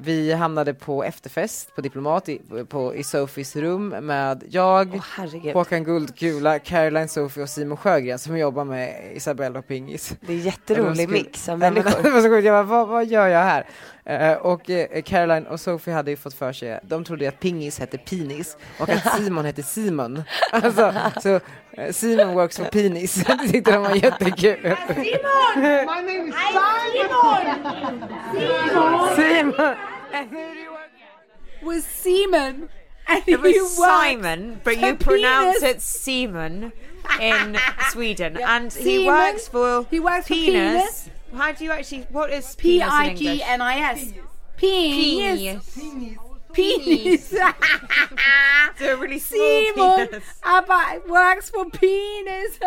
S4: Vi hamnade på efterfest på Diplomat i, på, i Sofies rum med jag,
S2: Åh herregud.
S4: Håkan Guldkula, Caroline Sofie och Simon Sjögren som jobbar med Isabella och Pingis.
S2: Det är en jätterolig
S4: Eller-
S2: mix av
S4: Nej, men
S2: människor.
S4: det var så sjukt, jag bara, vad, vad gör jag här? Eh, och eh, Caroline och Sophie hade ju fått för sig, de trodde ju att pingis hette penis och att Simon hette Simon. Alltså, så eh, Simon works for penis. Det tyckte de var jättekul. Simon!
S6: was semen. And
S7: It
S6: you
S7: was
S6: were-
S7: Simon, but you
S6: Penis.
S7: pronounce it Seaman in Sweden. And he
S6: Seaman.
S7: works for
S6: He works for
S7: penis. How do you actually? What is
S6: P
S7: penis
S6: I
S7: in
S6: G
S7: English?
S6: N I S. Penis. Penis.
S7: So a really small
S6: Simon
S7: penis.
S6: Abba works for penis.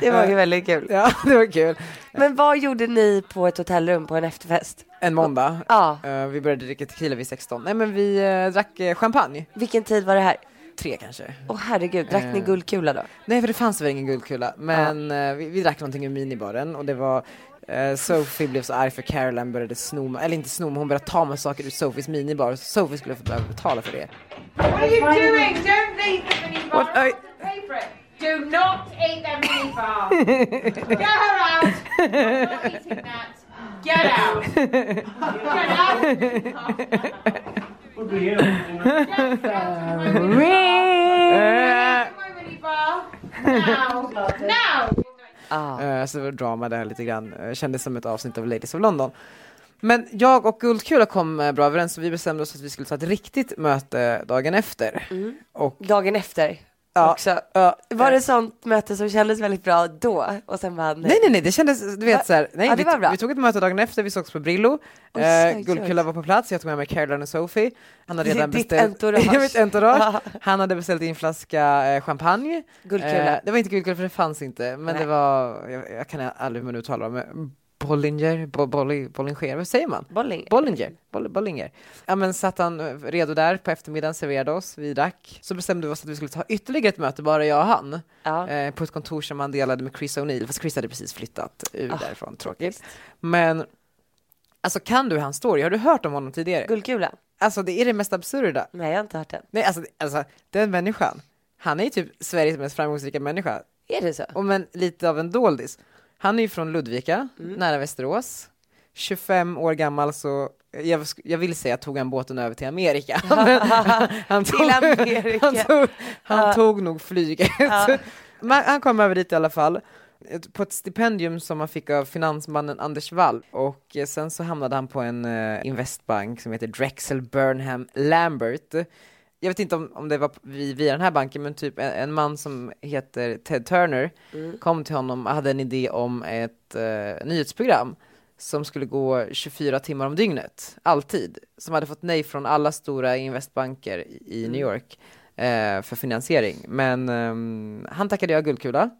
S2: Det var ju väldigt kul.
S4: Ja, det var kul.
S2: Men vad gjorde ni på ett hotellrum på en efterfest?
S4: En måndag.
S2: Ja,
S4: Eh, vi började dricka tequila vid 16. Nej, men vi eh, drack eh, champagne.
S2: vilken tid var det här?
S4: Tre kanske.
S2: Åh herregud, drack ni
S4: Eh.
S2: guldkula då?
S4: Nej, för det fanns väl ingen guldkula. Men eh, vi, vi drack någonting ur minibaren och det var eh, Sophie blev så arg för Caroline började sno, eller inte sno, men hon började ta med saker ur Sophies minibar. Så Sophie skulle få behöva betala för det.
S8: What are you doing? Don't eat the
S4: What
S8: minibar.
S4: are-
S8: Pay for it. Do not eat that minibar. Get her out. I'm not eating that. Get out. Get out. Get out of my
S2: Mm.
S6: Uh,
S4: Eh,
S8: minibar. Now. Now.
S4: eh, så det var drama där lite grann. Eh, Kändes som ett avsnitt av Ladies of London. Men jag och Guldkula kom eh, bra överens så vi bestämde oss att vi skulle ta ett riktigt möte dagen efter. Och
S2: Dagen efter
S4: ja,
S2: Mm. också.
S4: ja,
S2: Var det sånt möte som kändes väldigt bra då och sen bara nej?
S4: Eh. Nej, nej, nej, det kändes, du vet så här, nej,
S2: Ja, det
S4: vi,
S2: var bra.
S4: vi tog ett möte dagen efter, vi sågs på Brillo,
S2: Oj,
S4: eh,
S2: oj,
S4: Guldkula
S2: oj.
S4: var på plats, jag tog med mig Caroline och Sophie, han hade
S2: Ditt-
S4: redan
S2: ditt
S4: beställt,
S2: entourage.
S4: Ja, mitt entourage.
S2: Ja.
S4: han hade beställt in flaska eh, champagne,
S2: Guldkula.
S4: Eh, det var inte Guldkula för det fanns inte, men det var, jag, jag kan aldrig hur man uttalar det, men Bollinger, Bo- Bolli- Bollinger, vad säger man?
S2: Bolling.
S4: Bollinger, Boll- Bollinger. Ja men satt han eh, redo där på eftermiddagen, serverade oss, vi drack. Så bestämde vi oss att vi skulle ta ytterligare ett möte, bara jag och han.
S2: Ja.
S4: Eh, på ett kontor som han delade med Chris O'Neill, fast Chris hade precis flyttat ur
S2: Ah,
S4: därifrån, tråkigt. Men alltså kan du hans story? Har du hört om honom tidigare?
S2: Guldkula?
S4: Alltså det är det mest absurda.
S2: Nej, jag har inte hört den.
S4: Nej alltså, alltså den människan, han är ju typ Sveriges mest framgångsrika människa,
S2: Är det så?
S4: och men lite av en doldis. Han är ju från Ludvika,
S2: Mm.
S4: nära Västerås. 25 år gammal så, jag, sk- jag vill säga tog han båten över till Amerika. Men han, han tog,
S2: Amerika.
S4: Han tog, han
S2: Ja.
S4: tog nog flyget. Men han kom över dit i alla fall. Ett- På ett stipendium som han fick av finansmannen Anders Wall. Och eh, sen så hamnade han på en eh, investbank som heter Drexel Burnham Lambert jag vet inte om, om det var p- vi- via den här banken, men typ en, en man som heter Ted Turner kom till honom och hade en idé om ett eh, nyhetsprogram som skulle gå 24 timmar om dygnet, alltid, som hade fått nej från alla stora investbanker i, i New York eh, för finansiering. Men ehm, han tackade jag guldkula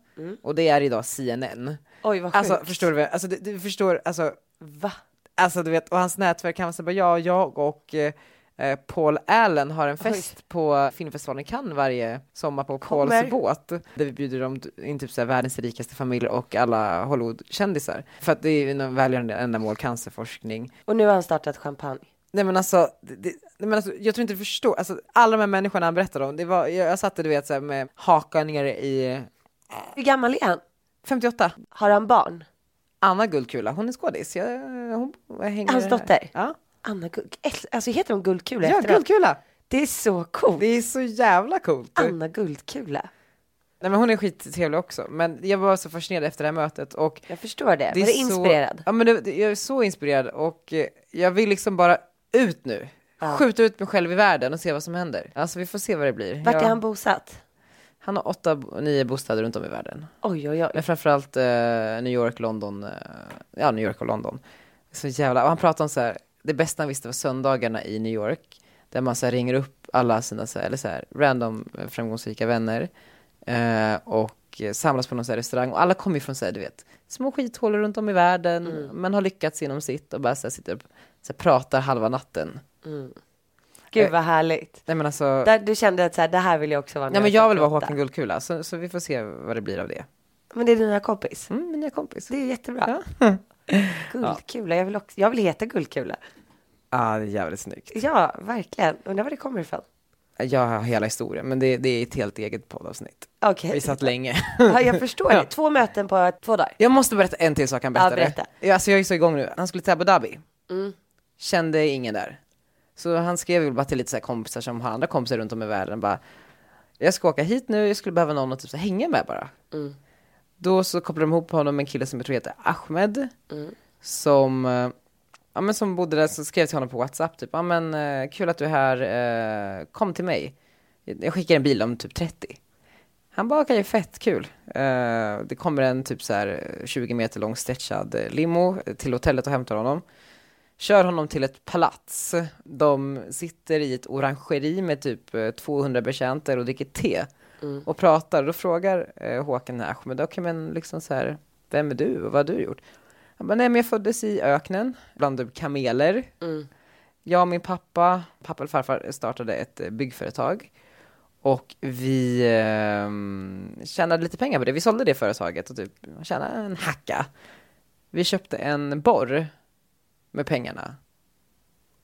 S4: och det är idag CNN.
S2: Oj, Mm. vad sjukt.
S4: Alltså, förstår du? vad jag- Alltså, du, du förstår, alltså
S2: Va?
S4: Alltså du vet, och hans nätverk, han var så bara, ja, jag och eh, eh, Paul Allen har en fest på filmfestivalen i Cannes varje sommar på
S2: Kommer.
S4: Pauls båt. Där vi bjuder dem in typ så här, världens rikaste familjer och alla Hollywoodkändisar. För att det är ju någon välgörande ändamål, cancerforskning.
S2: Och nu har han startat champagne.
S4: Nej men alltså, det, det, nej, men alltså jag tror inte du förstår, alltså, alla de här människorna han berättade om, det var, jag, jag satte du vet så här, med hakan nere i
S2: Hur gammal är han?
S4: 58.
S2: Har han barn?
S4: Anna Guldkula, hon är skådis. Jag, hon, jag hänger
S2: Hans
S4: här.
S2: dotter?
S4: Ja,
S2: Anna Guld... Alltså heter hon Guldkula
S4: ja
S2: efterhand?
S4: Guldkula.
S2: Det är så coolt.
S4: Det är så jävla coolt.
S2: Anna Guldkula.
S4: Nej men hon är skittrevlig också, men jag var så fascinerad efter det här mötet och
S2: Jag förstår det. Var
S4: är
S2: det inspirerad?
S4: Så, ja men det, det, jag är så inspirerad och eh, jag vill liksom bara ut nu. Skjuta ut mig själv i världen och se vad som händer. Alltså vi får se vad det blir.
S2: Vart
S4: Jag-
S2: är han bosatt?
S4: han har åtta, bo- nio bostäder runt om i världen.
S2: Oj, oj, oj.
S4: Men framförallt eh, New York, London, eh, ja New York och London. Så jävla, och han pratade om så här, det bästa han visste var söndagarna i New York, där man så här, ringer upp alla sina så här, eller så här, random eh, framgångsrika vänner eh, och och eh, samlas på någon sån här restaurang och alla kommer ju från så här, du vet, små skithålor runt om i världen,
S2: Mm.
S4: men har lyckats inom sitt och bara så här, sitter och så här, pratar halva natten.
S2: Gud
S4: Eh,
S2: vad härligt.
S4: Nej men alltså,
S2: Där, du kände att så här, det här vill jag också vara. när
S4: nej men jag vill vara
S2: ska
S4: Håkan
S2: prata.
S4: Guldkula så, så vi får se vad det blir av det.
S2: Men det är din nya kompis.
S4: Mm, min nya kompis.
S2: Det är jättebra.
S4: Ja.
S2: Guldkula, jag vill, också, jag vill heta Guldkula.
S4: ah, det är jävligt snyggt.
S2: Ja, verkligen. Undrar var det kommer ifrån.
S4: Jag har hela historien men det, det är ett helt eget poddavsnitt.
S2: Okej.
S4: Vi satt länge.
S2: Ja, jag förstår det. Två möten på två dagar.
S4: Jag måste berätta en till sak han berättade.
S2: Ja, berätta. Mm.
S4: Ja, alltså jag är så igång nu. Han skulle till Abu Dhabi. Kände ingen där. Så han skrev väl bara till lite så här kompisar som har andra kompisar runt om i världen bara. Jag ska åka hit nu, jag skulle behöva någon att typ så här hänga med bara.
S2: Mm.
S4: Då så kopplade de ihop honom med en kille som jag tror heter Ahmed.
S2: Mm.
S4: Som, eh, ja, men som bodde där, så skrev till honom på WhatsApp typ, ja men eh, kul att du är här, eh, kom till mig. Jag skickar en bil om typ 30. Han bara, okej, fett kul. Eh, det kommer en typ så här eh, 20 meter lång stretchad eh, limo till hotellet och hämtar honom. Kör honom till ett palats. De sitter i ett orangeri med typ eh, 200 betjänter och dricker te och pratar. Då frågar eh, Håkan den här Ahmed, okej men liksom så här, vem är du och vad har du gjort? Han bara, nej men jag föddes i öknen bland typ kameler. Jag och min pappa, pappa eller farfar startade ett eh, byggföretag. Och vi eh, tjänade lite pengar på det. Vi sålde det företaget och typ tjänade en hacka. Vi köpte en borr med pengarna.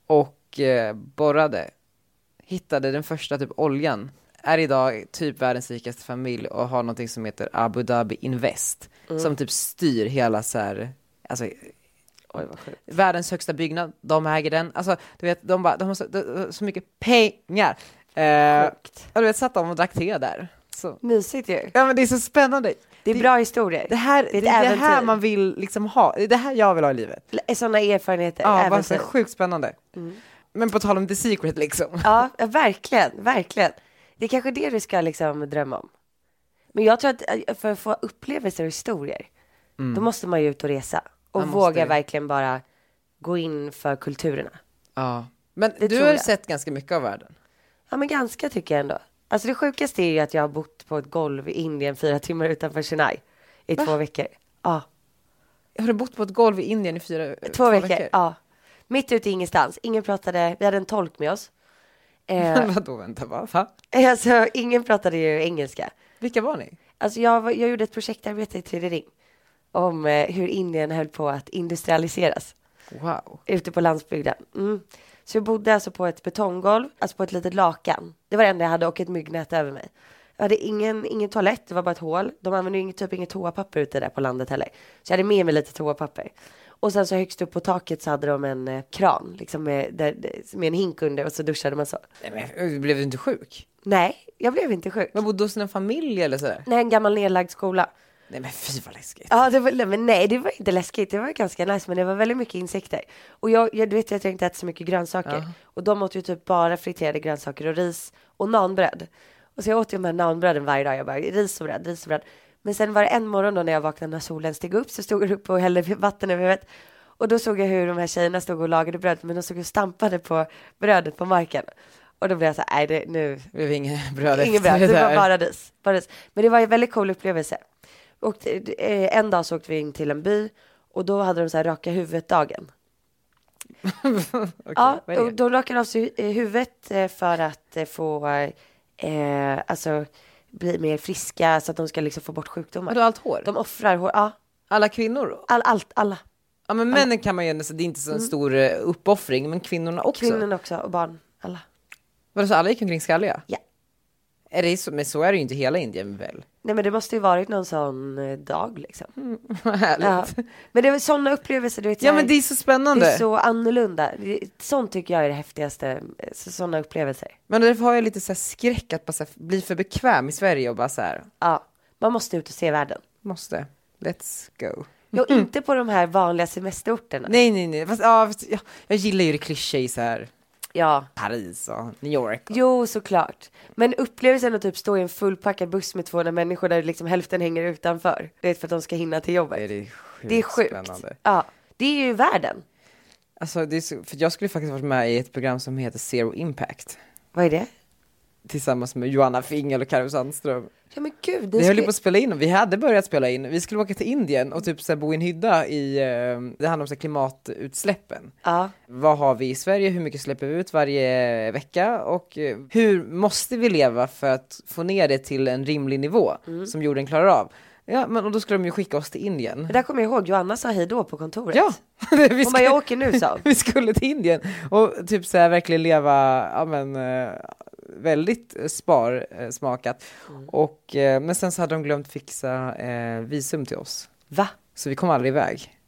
S4: Och eh, borrade. Hittade den första typ oljan. Är idag typ världens rikaste familj och har någonting som heter Abu Dhabi Invest.
S2: Mm.
S4: Som typ styr hela så här, alltså
S2: Oj, vad sjukt.
S4: världens högsta byggnad, de äger den. Alltså, du vet, de, bara, de har så, de, de, så mycket pengar. Eh, och du vet, satt de och drack te där. Så.
S2: Mysigt ju.
S4: Ja men det är så spännande.
S2: Det är bra historier.
S4: Det här
S2: Det
S4: det är
S2: är ett
S4: det, här
S2: äventyr.
S4: man vill liksom ha, det är det här jag vill ha i livet.
S2: Sådana erfarenheter.
S4: Ja, bara så
S2: äventyr. Mm.
S4: sjukt spännande. Men på tal om the secret liksom.
S2: Ja, ja, verkligen, verkligen. Det är kanske det du ska liksom drömma om. Men jag tror att eh, för att få upplevelser och historier, då måste man ju ut och resa. Och
S4: Man måste
S2: våga
S4: det.
S2: verkligen bara gå in för kulturerna.
S4: Ja. Men du
S2: Det tror
S4: har ju
S2: jag.
S4: sett ganska mycket av världen.
S2: Ja, men ganska tycker jag ändå. Alltså det sjukaste är ju att jag har bott på ett golv i Indien fyra timmar utanför Chennai i två veckor. Ja,
S4: Har du bott på ett golv i Indien i fyra
S2: två, veckor. Ja. Mitt ute i ingenstans. Ingen pratade, vi hade en tolk med oss. Eh,
S4: Vadå, vänta, va? va?
S2: alltså ingen pratade ju engelska.
S4: Vilka var ni?
S2: Alltså jag, var- jag gjorde ett projektarbete i Tredje Ring om eh, hur Indien höll på att industrialiseras
S4: Wow.
S2: ute på landsbygden. Mm. Så jag bodde alltså på ett betonggolv, alltså på ett litet lakan. Det var det enda jag hade och ett myggnät över mig. Jag hade ingen, ingen toalett, det var bara ett hål. De använde ju inget, typ inget toapapper ute där på landet heller. Så jag hade med mig lite toapapper. Och sen så högst upp på taket så hade de en eh, kran, liksom med, där, där- med en hink under och så duschade man så.
S4: Nej, men, blev du inte sjuk?
S2: Nej, jag blev inte sjuk.
S4: Men bodde hos en familj eller sådär?
S2: Nej, en gammal nedlagd skola.
S4: Nej men fy vad läskigt.
S2: Ja, det var, nej, men nej, det var inte läskigt. Det var ganska nice, men det var väldigt mycket insekter. Och jag, jag du vet, jag tänkte äta så mycket grönsaker. Och de åt ju typ bara friterade grönsaker och ris och naanbröd. Och så jag åt ju de här naanbröden varje dag. Jag bara, ris och bröd, ris och bröd. Men sen var det en morgon då när jag vaknade när solen steg upp så stod jag upp och hällde vatten över huvudet. Och då såg jag hur de här tjejerna stod och lagade bröd, men de stod och stampade på brödet på marken. Och då blev jag så här, nej, det, nu,
S4: Det blev inget bröd
S2: Inget
S4: efter
S2: bröd,
S4: det
S2: det var
S4: där.
S2: bara ris. Bara ris. Men det var en väldigt cool upplevelse. Och eh, en dag så åkte vi in till en by och då hade de så här raka huvudet-dagen.
S4: Okej,
S2: Ja,
S4: vad är det?
S2: och de rakade av sig hu- eh, huvudet eh, för att eh, få, eh, alltså bli mer friska så att de ska liksom få bort sjukdomar.
S4: Vadå, allt hår?
S2: De offrar hår, ja,
S4: Alla kvinnor?
S2: all, allt, alla.
S4: Ja men männen kan man ju ändå, så det är inte så en stor eh, uppoffring, men kvinnorna också.
S2: Mm. Kvinnorna också och barn, alla.
S4: Vadå, så alla gick omkring skalliga?
S2: Ja.
S4: Är det så, men så är det ju inte i hela Indien väl?
S2: Nej men det måste ju varit någon sån eh, dag liksom.
S4: Vad härligt.
S2: Ja.
S4: Ja.
S2: Men det var sådana upplevelser du vet. så här-
S4: Mm. men det är så spännande.
S2: Det är så annorlunda. Det- Sånt tycker jag är det häftigaste, eh, så, sådana upplevelser.
S4: Men därför har jag lite så här skräck att bara så här, bli för bekväm i Sverige och bara så här,
S2: Ja, man måste ut och se världen.
S4: måste, let's go.
S2: Jo, inte på de här vanliga semesterorterna.
S4: Nej, nej, nej, fast, ja, fast, ja, jag gillar ju det klyschor i så här
S2: Ja,
S4: Paris och New York.
S2: jo såklart. Men upplevelsen att typ stå i en fullpackad buss med 200 människor där liksom hälften hänger utanför. Det är för att de ska hinna till jobbet.
S4: Det är sjukt,
S2: Det är sjukt.
S4: spännande.
S2: Ja, det är ju världen.
S4: Alltså, det är så, för jag skulle faktiskt varit med i ett program som heter Zero Impact.
S2: Vad är det?
S4: tillsammans med Joanna Fingel och Karo Sandström.
S2: Ja men gud,
S4: Vi höll ju
S2: ni skulle...
S4: på att spela in, och vi hade börjat spela in, vi skulle åka till Indien och typ så här, bo i en hydda i, eh, det handlar om så här, klimatutsläppen.
S2: Ja.
S4: Vad har vi i Sverige? Hur mycket släpper vi ut varje vecka? Och eh, hur måste vi leva för att få ner det till en rimlig nivå som jorden klarar av? Ja, men och då skulle de ju skicka oss till Indien.
S2: Det där kommer jag ihåg, Joanna sa hej då på kontoret.
S4: Ja, vi
S2: Hon bara, jag åker nu sa hon.
S4: vi skulle till Indien och typ så här verkligen leva, ja men eh, väldigt eh, sparsmakat.
S2: Mm.
S4: Och, eh, men sen så hade de glömt fixa eh, visum till oss.
S2: Va?
S4: Så vi kom aldrig iväg.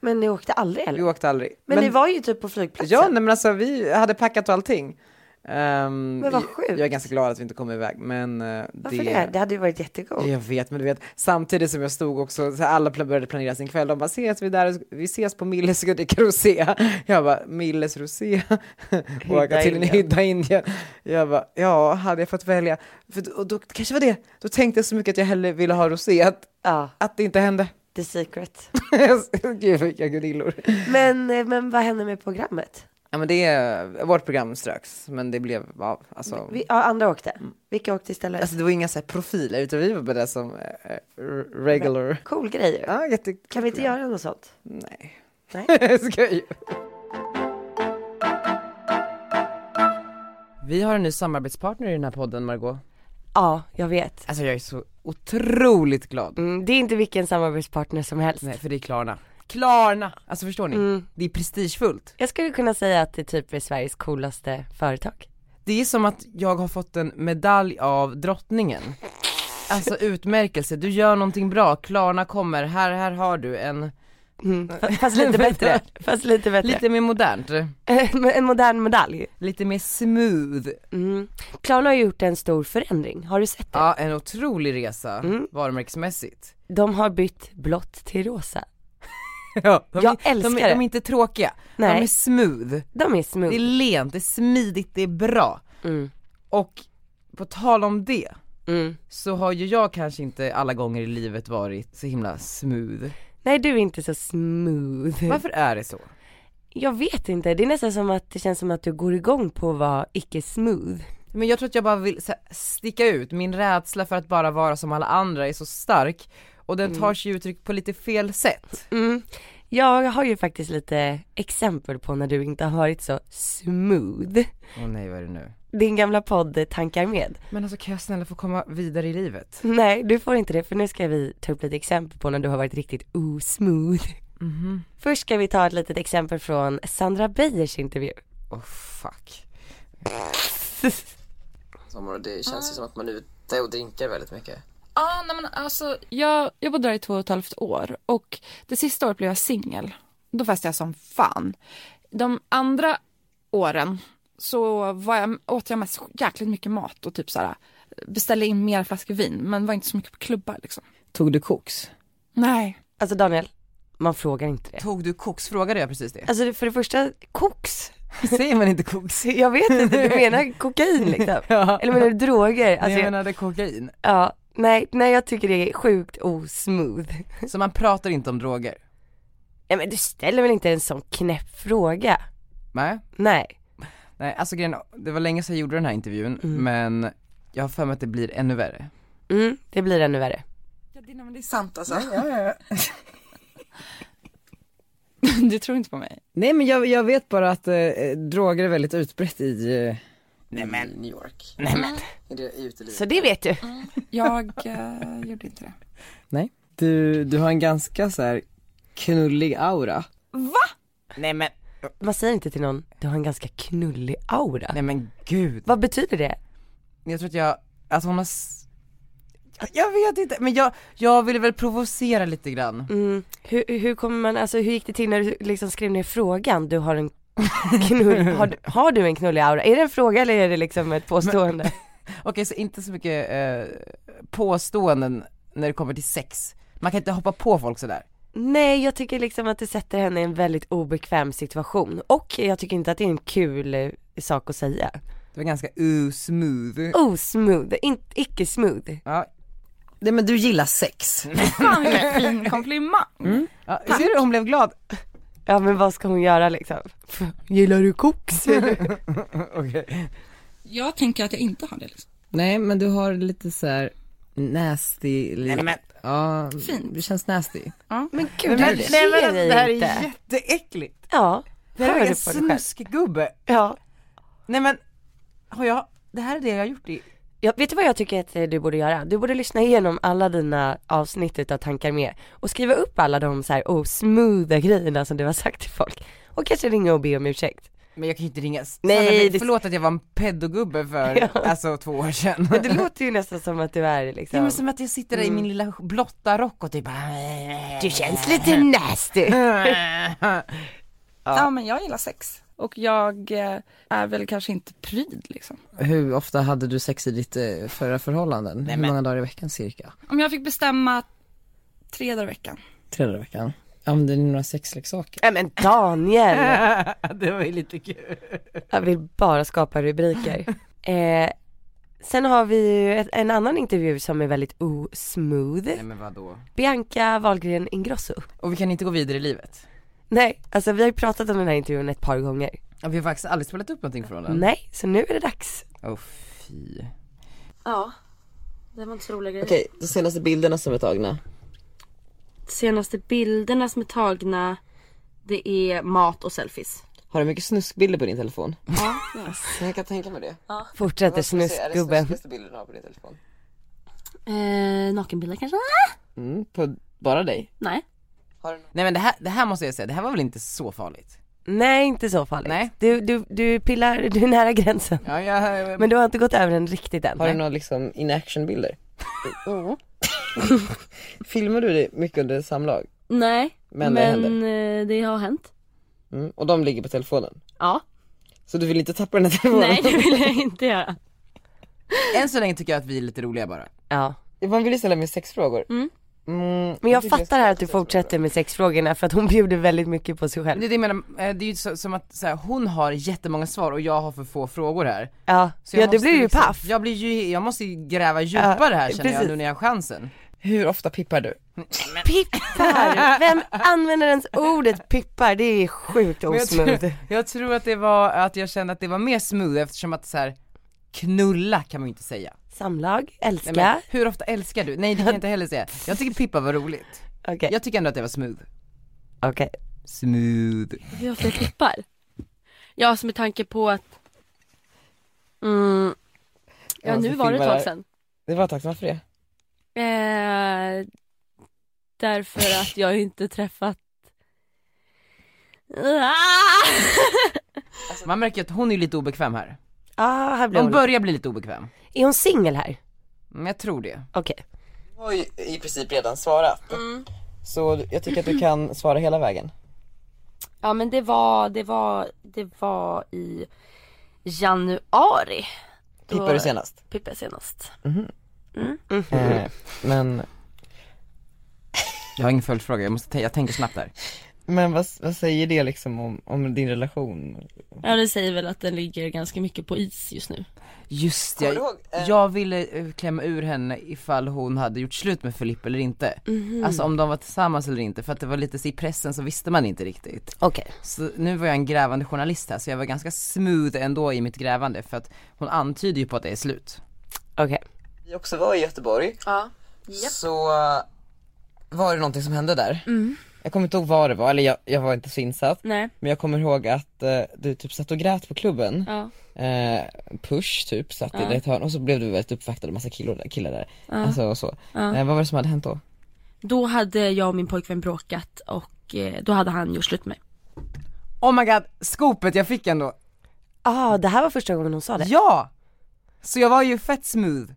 S2: Men ni åkte aldrig
S4: Vi
S2: eller?
S4: åkte aldrig.
S2: Men, ni var ju typ på flygplatsen.
S4: Ja, nej, men alltså vi hade packat och allting. Ehm,
S2: Men vad
S4: jag-
S2: sjukt.
S4: Jag är ganska glad att vi inte kom iväg, men eh,
S2: Varför det? Det hade ju varit jättegott.
S4: Jag vet, men du vet, samtidigt som jag stod också, så här, alla pla- började planera sin kväll, de bara ses vi där, vi ses på Milles rosé. Jag bara, Milles rosé? Och åka till en
S2: Indien.
S4: hydda i Indien. Jag bara, ja, hade jag fått välja? För, då- och då det kanske var det, då tänkte jag så mycket att jag hellre ville ha rosé, att,
S2: Ja,
S4: att det inte hände.
S2: the secret.
S4: Gud, vilka gunillor.
S2: Men, eh, men vad hände med programmet?
S4: Ja, men det är, vårt program ströks, men det blev av. Alltså,
S2: Vi, ja, andra åkte.
S4: Mm.
S2: Vilka åkte istället?
S4: alltså det var inga så här profiler, utan vi var bara där som eh, eh, regular.
S2: Cool grej ju.
S4: Ja, jätte-
S2: Kan vi inte göra något sånt?
S4: Nej.
S2: Nej.
S4: Skoj. Vi har en ny samarbetspartner i den här podden, Margot.
S2: Ja, jag vet.
S4: Alltså jag är så otroligt glad.
S2: Mm, det är inte vilken samarbetspartner som helst.
S4: Nej, för det är Klarna. Klarna! Alltså förstår ni?
S2: Mm.
S4: Det är prestigefullt.
S2: Jag skulle kunna säga att det typ är Sveriges coolaste företag.
S4: Det är som att jag har fått en medalj av drottningen. Alltså utmärkelse, du gör någonting bra, Klarna kommer, här, här har du en,
S2: Mm. fa- Fast lite bättre. Fast lite bättre.
S4: lite mer modernt,
S2: en modern medalj.
S4: lite mer smooth.
S2: Mm. Klarna har gjort en stor förändring, har du sett det?
S4: Ja, en otrolig resa
S2: Mm.
S4: varumärkesmässigt.
S2: De har bytt blått till rosa.
S4: Ja, de,
S2: Jag
S4: är-
S2: älskar
S4: de, är-
S2: det.
S4: de är inte tråkiga, de
S2: Nej,
S4: är smooth,
S2: de är
S4: det är
S2: smooth.
S4: lent, det är smidigt, det är bra.
S2: Mm.
S4: Och på tal om det,
S2: Mm.
S4: så har ju jag kanske inte alla gånger i livet varit så himla smooth.
S2: Nej, du är inte så smooth.
S4: Varför är det så?
S2: Jag vet inte, det är nästan som att det känns som att du går igång på att vara icke smooth.
S4: Men jag tror att jag bara vill så här, sticka ut, min rädsla för att bara vara som alla andra är så stark och den tar sig uttryck på lite fel sätt.
S2: Mm. Jag har ju faktiskt lite exempel på när du inte har varit så smooth.
S4: Åh nej vad är det nu?
S2: Din gamla podd Tankar med.
S4: Men alltså kan jag snälla få komma vidare i livet?
S2: Nej, du får inte det för nu ska vi ta upp lite exempel på när du har varit riktigt osmooth. Först ska vi ta ett litet exempel från Sandra Beijers intervju.
S4: Åh fuck.
S3: Ja, nej men alltså jag, jag bodde där i två och ett halvt år och det sista året blev jag singel. Då festade jag som fan. De andra åren så var jag, åt jag mest jäkligt mycket mat och typ så här beställde in mer flaskor vin men var inte så mycket på klubbar liksom.
S4: Tog du koks?
S3: Nej.
S2: Alltså Daniel, man frågar inte det.
S4: Tog du koks? Frågade jag precis det?
S2: Alltså för det första, koks.
S4: Säger man inte koks?
S2: Jag vet inte, du menar kokain liksom?
S4: Ja.
S2: Eller menar du droger?
S4: Nej,
S2: Alltså,
S4: jag
S2: jag,
S4: menade kokain.
S2: ja, nej, nej jag tycker det är sjukt osmooth.
S4: Så man pratar inte om droger?
S2: Nej men du ställer väl inte en sån knäpp fråga?
S4: Nej.
S2: Nej.
S4: Nej, alltså grejen, det var länge sedan jag gjorde den här intervjun,
S2: Mm.
S4: men jag har för mig att det blir ännu värre.
S2: Mm, det blir ännu värre.
S3: Ja, det, nej, men det är sant alltså. du tror inte på mig?
S1: Nej men jag, jag vet bara att eh, droger är väldigt utbrett i eh,
S2: Så alltså, det vet du.
S3: Jag eh, gjorde inte det.
S1: Du, du har en ganska så här knullig aura.
S4: Nej men,
S2: Man säger inte till någon, du har en ganska knullig aura.
S4: nej men gud.
S2: Vad betyder det?
S4: Jag tror att jag, alltså hon har, s- jag- jag vet inte, men jag, jag ville väl provocera lite grann.
S2: Mm. Hur, hur kommer man, alltså hur gick det till när du liksom skrev ner frågan, du har en knull, har, du- har du en knullig aura? Är det en fråga eller är det liksom ett påstående?
S4: Okej, så inte så mycket eh, påståenden när det kommer till sex. Man kan inte hoppa på folk sådär.
S2: Nej, jag tycker liksom att det sätter henne i en väldigt obekväm situation och jag tycker inte att det är en kul eh, sak att säga.
S4: Det var ganska uh, osmooth.
S2: Osmooth, in, icke smooth.
S4: Ja,
S1: Nej men du gillar sex.
S3: Fan vilken fin komplimang.
S4: ja ser du hon blev glad?
S2: Ja men vad ska hon göra liksom? Gillar du koks?
S4: Okej.
S3: Jag tänker att jag inte har det. Liksom.
S1: Nej men du har lite så här nasty, lite,
S4: men-
S1: ja, det känns nasty.
S2: Men gud,
S4: Men,
S2: du
S4: nej, men
S2: ser
S4: alltså, det här
S2: inte.
S4: är jätteäckligt.
S2: Ja,
S4: Det här
S2: Hör
S4: är
S2: du
S4: en
S2: på dig själv?
S4: snuskgubbe.
S2: ja.
S4: Nej men, har jag, det här är det jag har gjort i,
S2: Ja, vet du vad jag tycker att eh, du borde göra? Du borde lyssna igenom alla dina avsnitt utav Tankar med och skriva upp alla de så här oh, smootha grejerna som du har sagt till folk och kanske ringa och be om ursäkt.
S4: men jag kan ju inte ringa,
S2: Nej,
S4: Nej,
S2: det-
S4: förlåt att jag var en pedogubbe för
S2: Ja.
S4: alltså två år sedan.
S2: Men det låter ju nästan som att du är
S4: Det
S2: liksom,
S4: är som att jag sitter där i min lilla blotta rock och typ bara...
S2: du känns lite nasty.
S3: Ja. men jag gillar sex. Och jag eh, är väl kanske inte pryd liksom.
S1: Hur ofta hade du sex i ditt eh, förra förhållanden? Hur många dagar i veckan cirka?
S3: Om jag fick bestämma tre dagar i veckan.
S1: Tre dagar i veckan. Ja men det är några sexleksaker.
S2: Nej men Daniel,
S4: det var ju lite kul.
S2: jag vill bara skapa rubriker. Eh, sen har vi ju ett, en annan intervju som är väldigt osmooth.
S4: Nej men vadå?
S2: Bianca Wahlgren Ingrosso.
S4: Och vi kan inte gå vidare i livet.
S2: Nej, alltså vi har ju pratat om den här intervjun ett par gånger.
S4: Ja, vi har faktiskt aldrig spelat upp någonting från den.
S2: Nej, så nu är det dags.
S4: Åh fy.
S9: Ja, det var inte så roliga grejer.
S1: Okej, de senaste bilderna som är tagna.
S9: Senaste bilderna som är tagna, det är mat och selfies.
S1: Har du mycket snuskbilder på din telefon? Ja. Jag kan tänka mig det.
S4: Ah,
S2: Fortsätter snuskgubben.
S1: bilden du har på din telefon?
S9: Eh, nakenbilder kanske?
S1: Mm, på bara dig?
S9: Nej.
S4: Nej men det här, det här måste jag säga, det här var väl inte så farligt?
S2: Nej, inte så farligt.
S4: Nej.
S2: Du, du, du pillar, du är nära gränsen.
S4: Ja, jag,
S2: Men du har inte gått över den riktigt än.
S1: Har du några liksom in action bilder?
S4: Mm.
S1: Filmar du det mycket under samlag?
S9: Nej.
S1: Men det händer.
S9: eh, det har hänt.
S1: Mm. Och de ligger på telefonen?
S9: Ja.
S1: Så du vill inte tappa den här telefonen?
S9: Nej det vill jag inte göra.
S4: än så länge tycker jag att vi är lite roliga bara.
S2: Ja.
S1: Man vill ju ställa mig sexfrågor.
S9: Mm.
S1: Mm,
S2: Men jag
S1: tycker
S2: fattar
S1: ska
S2: här att du
S1: ställa sexfrågor.
S2: fortsätter med sexfrågorna för att hon bjuder väldigt mycket på sig
S4: Men
S2: själv.
S4: Det är det jag menar, eh, det är ju så, som att så här, hon har jättemånga svar och jag har för få frågor här.
S2: Ja,
S4: Så jag
S2: ja du
S4: måste
S2: blir ju
S4: liksom,
S2: paff.
S4: Jag blir ju, jag måste ju gräva djupare här känner jag
S2: precis.
S4: nu när jag har chansen.
S1: Hur ofta pippar du?
S2: Pippar! Vem använder ens ordet pippar? Det är sjukt
S4: Men jag, tror,
S2: osmooth.
S4: jag tror att det var, att jag kände att det var mer smooth eftersom att så här knulla kan man ju inte säga.
S2: Samlag, älska.
S4: Nej, men, hur ofta älskar du? Nej det kan jag inte heller säga. Jag tycker Pippa var roligt.
S2: Okej,
S4: Jag tycker ändå att det var smooth.
S2: okej.
S4: Smooth.
S9: Hur ofta jag klippar? Ja alltså med tanke på att mm, Ja
S1: måste
S9: nu var det ett
S1: filma
S9: tag
S1: det
S9: sedan.
S1: Det var tacksam för det.
S9: Eh, därför att jag inte träffat Ah!
S4: Man märker att hon är lite obekväm här.
S2: Ah, här blir
S4: Hon
S2: hon.
S4: börjar bli lite obekväm.
S2: Är hon singel här?
S4: Men Mm, jag tror det.
S2: Okej.
S1: Du har ju i princip redan svarat. Så jag tycker att du kan svara hela vägen.
S9: Ja men det var, det var, det var i januari. Då
S1: Pippar du senast?
S9: Pippade jag senast.
S1: Eh, men,
S4: Jag har ingen följdfråga, jag, måste tän- jag tänker snabbt där.
S1: men vad, vad säger det liksom om, om din relation?
S9: Ja det säger väl att den ligger ganska mycket på is just nu.
S4: Just det, jag, jag ville eh, klämma ur henne ifall hon hade gjort slut med Filipp eller inte.
S1: Mhm.
S4: Alltså om de var tillsammans eller inte, för att det var lite så i pressen så visste man inte riktigt.
S2: Okej.
S4: Så nu var jag en grävande journalist här, så jag var ganska smooth ändå i mitt grävande för att hon antyder ju på att det är slut.
S2: Okej.
S1: Vi också var i Göteborg,
S9: Ja.
S1: så eh, var det någonting som hände där. Jag kommer inte ihåg vad det var, eller jag, jag var inte så insatt.
S9: Nej.
S1: Men jag kommer ihåg att eh, du typ satt och grät på klubben.
S9: Ja.
S1: Eh, push typ, satt i ett hörn och så blev du väldigt uppvaktad av massa killar där. Killar där. Alltså och så. Eh, vad var det som hade hänt då?
S9: Då hade jag och min pojkvän bråkat och eh, då hade han gjort slut med mig.
S4: Oh my god, skopet jag fick ändå!
S2: Ah, det här var första gången hon sa det.
S4: Ja! Så jag var ju fett smooth.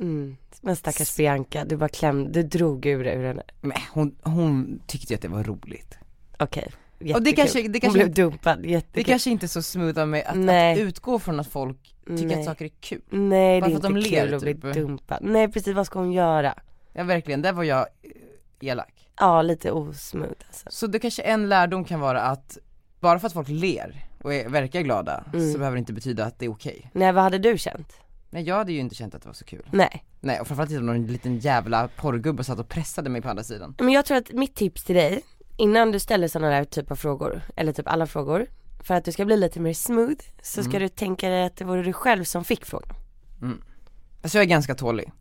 S2: Mm. Men stackars Bianca, du bara klämde, du drog ur, ur henne.
S4: Men hon, hon tyckte ju att det var roligt.
S2: Okej,
S4: Och det
S2: jättekul.
S4: kanske- det
S2: Hon
S4: kanske-
S2: blev dumpad,
S4: Det
S2: jättekul.
S4: kanske inte är så smooth av mig att, att
S2: Nej.
S4: utgå från att folk tycker
S2: Nej.
S4: att saker är kul.
S2: Nej det
S4: Bara
S2: är
S4: för
S2: inte
S4: att de ler,
S2: kul att
S4: typ.
S2: bli dumpad. Nej precis, vad ska hon göra?
S4: Ja verkligen, där var jag eh, elak.
S2: Ja lite osmooth alltså.
S4: Så det kanske en lärdom kan vara att bara för att folk ler och är, verkar glada
S2: Mm.
S4: så behöver det inte betyda att det är okej.
S2: Nej vad hade du känt?
S4: Nej jag hade ju inte känt att det var så kul.
S2: Nej.
S4: Nej och framförallt inte om någon liten jävla porrgubbe satt och pressade mig på andra sidan.
S2: Men jag tror att mitt tips till dig, innan du ställer sådana där typ av frågor, eller typ alla frågor, för att du ska bli lite mer smooth så ska
S1: Mm.
S2: du tänka dig att det vore du själv som fick frågan.
S1: Mm. Alltså jag är ganska tålig.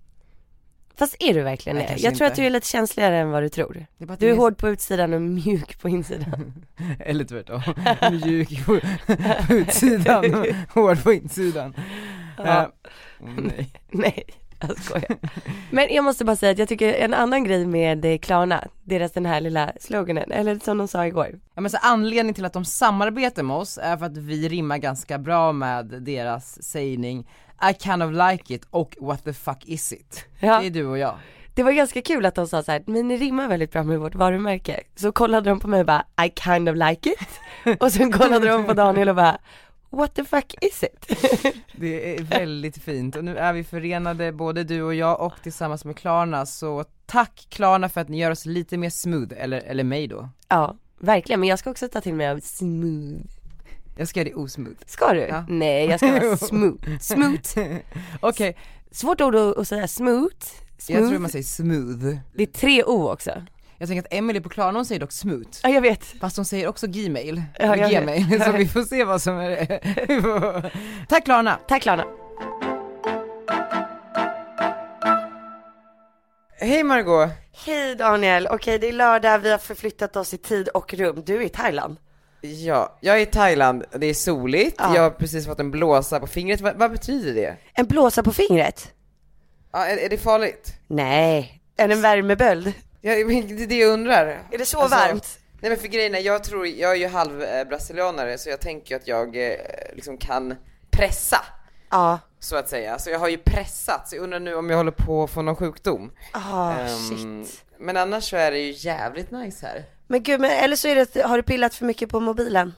S2: Fast är du verkligen
S1: Nej,
S2: det?
S1: kanske
S2: Jag tror
S1: inte.
S2: att du är lite känsligare än vad du tror.
S1: Det är bara att
S2: Du är
S1: det är-
S2: hård på utsidan och mjuk på insidan.
S1: Eller tvärtom, mjuk på på utsidan och hård på insidan.
S2: Ja.
S1: Eh, åh nej.
S2: Nej, jag skojar. Men jag måste bara säga att jag tycker en annan grej med eh, Klarna, deras den här lilla sloganen, eller som de sa igår.
S1: Ja, men så anledningen till att de samarbetar med oss är för att vi rimmar ganska bra med deras sägning I kind of like it och what the fuck is it?
S2: Ja.
S1: Det är du och jag.
S2: Det var ganska kul att de sa så här, men ni rimmar väldigt bra med vårt varumärke. Så kollade de på mig och bara, I kind of like it. Och sen kollade de på Daniel och bara, what the fuck is it?
S1: Det är väldigt fint och nu är vi förenade både du och jag och tillsammans med Klarna så tack Klarna för att ni gör oss lite mer smooth, eller, eller mig då.
S2: Ja, verkligen, men jag ska också ta till mig av smooth.
S1: Jag ska göra det osmooth.
S2: Ska du?
S1: Ja.
S2: Nej, jag ska vara smooth. Smooth.
S1: Okej,
S2: Svårt ord att att säga, smooth. smooth.
S1: jag tror man säger smooth.
S2: Det är tre o också.
S1: Jag tänker att Emily på Klarna hon säger dock smooth.
S2: Ja, jag vet.
S1: Fast hon säger också gmail,
S2: Ja, jag vet.
S1: gmail, så vi får se vad som är det. Tack Klarna!
S2: Tack Lana.
S1: Hej Margot!
S2: Hej Daniel, okej det är lördag, vi har förflyttat oss i tid och rum. Du är i Thailand.
S4: Ja, jag är i Thailand, det är soligt,
S2: Ja.
S4: jag har precis fått en blåsa på fingret. Vad, vad betyder det?
S2: En blåsa på fingret?
S4: Ja, är, är det farligt?
S2: Nej. En, en värmeböld?
S4: Ja, men det är det jag undrar.
S2: Är det så
S4: Alltså,
S2: varmt?
S4: Nej men för grejen är, jag tror, jag är ju halv eh, brasilianare så jag tänker ju att jag eh, liksom kan pressa
S2: Ja.
S4: så att säga. Så jag har ju pressat, så jag undrar nu om jag håller på att få någon sjukdom.
S2: Ah,
S4: Ehm,
S2: shit.
S4: Men annars så är det ju jävligt nice här.
S2: Men gud, men, eller så är det, har du pillat för mycket på mobilen?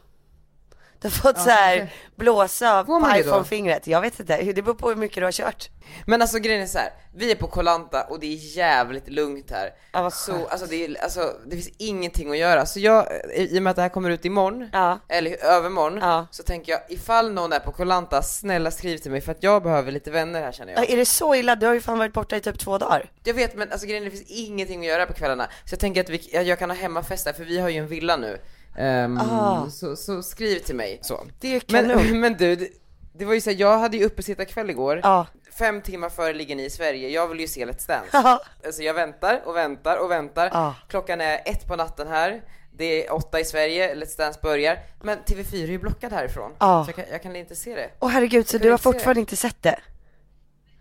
S2: Du har fått så här blåsa av
S4: Får
S2: på
S4: man det då?
S2: iPhone-fingret. Jag vet inte, det beror på hur mycket du har kört.
S4: Men alltså grejen är så här. vi är på Koh Lanta och det är jävligt lugnt här. så alltså det, är, alltså det finns ingenting att göra. Så jag, i och med att det här kommer ut imorgon,
S2: Ja.
S4: eller övermorgon,
S2: Ja.
S4: så tänker jag ifall någon är på Koh Lanta, snälla skriv till mig för att jag behöver lite vänner här känner jag.
S2: Ja, är det så illa? Du har ju fan varit borta i typ två dagar.
S4: Jag vet men alltså grejen är, det finns ingenting att göra på kvällarna. Så jag tänker att vi, jag, jag kan ha hemmafest där för vi har ju en villa nu. Ehm,
S2: Ah.
S4: så, så skriv till mig. Så.
S2: Det är kanon.
S4: Men, men du, det, det var ju så här, jag hade ju uppesittarkväll igår.
S2: Ja.
S4: Fem timmar före ligger ni i Sverige, jag vill ju se Let's Dance.
S2: Ja.
S4: Alltså jag väntar och väntar och väntar.
S2: Ja.
S4: Klockan är ett på natten här, det är åtta i Sverige, Let's Dance börjar. Men TV4 är ju blockad härifrån.
S2: Ja.
S4: Så jag kan, jag kan inte se det.
S2: Åh herregud, så
S4: Ska
S2: du
S4: vi
S2: har
S4: se?
S2: fortfarande inte sett det?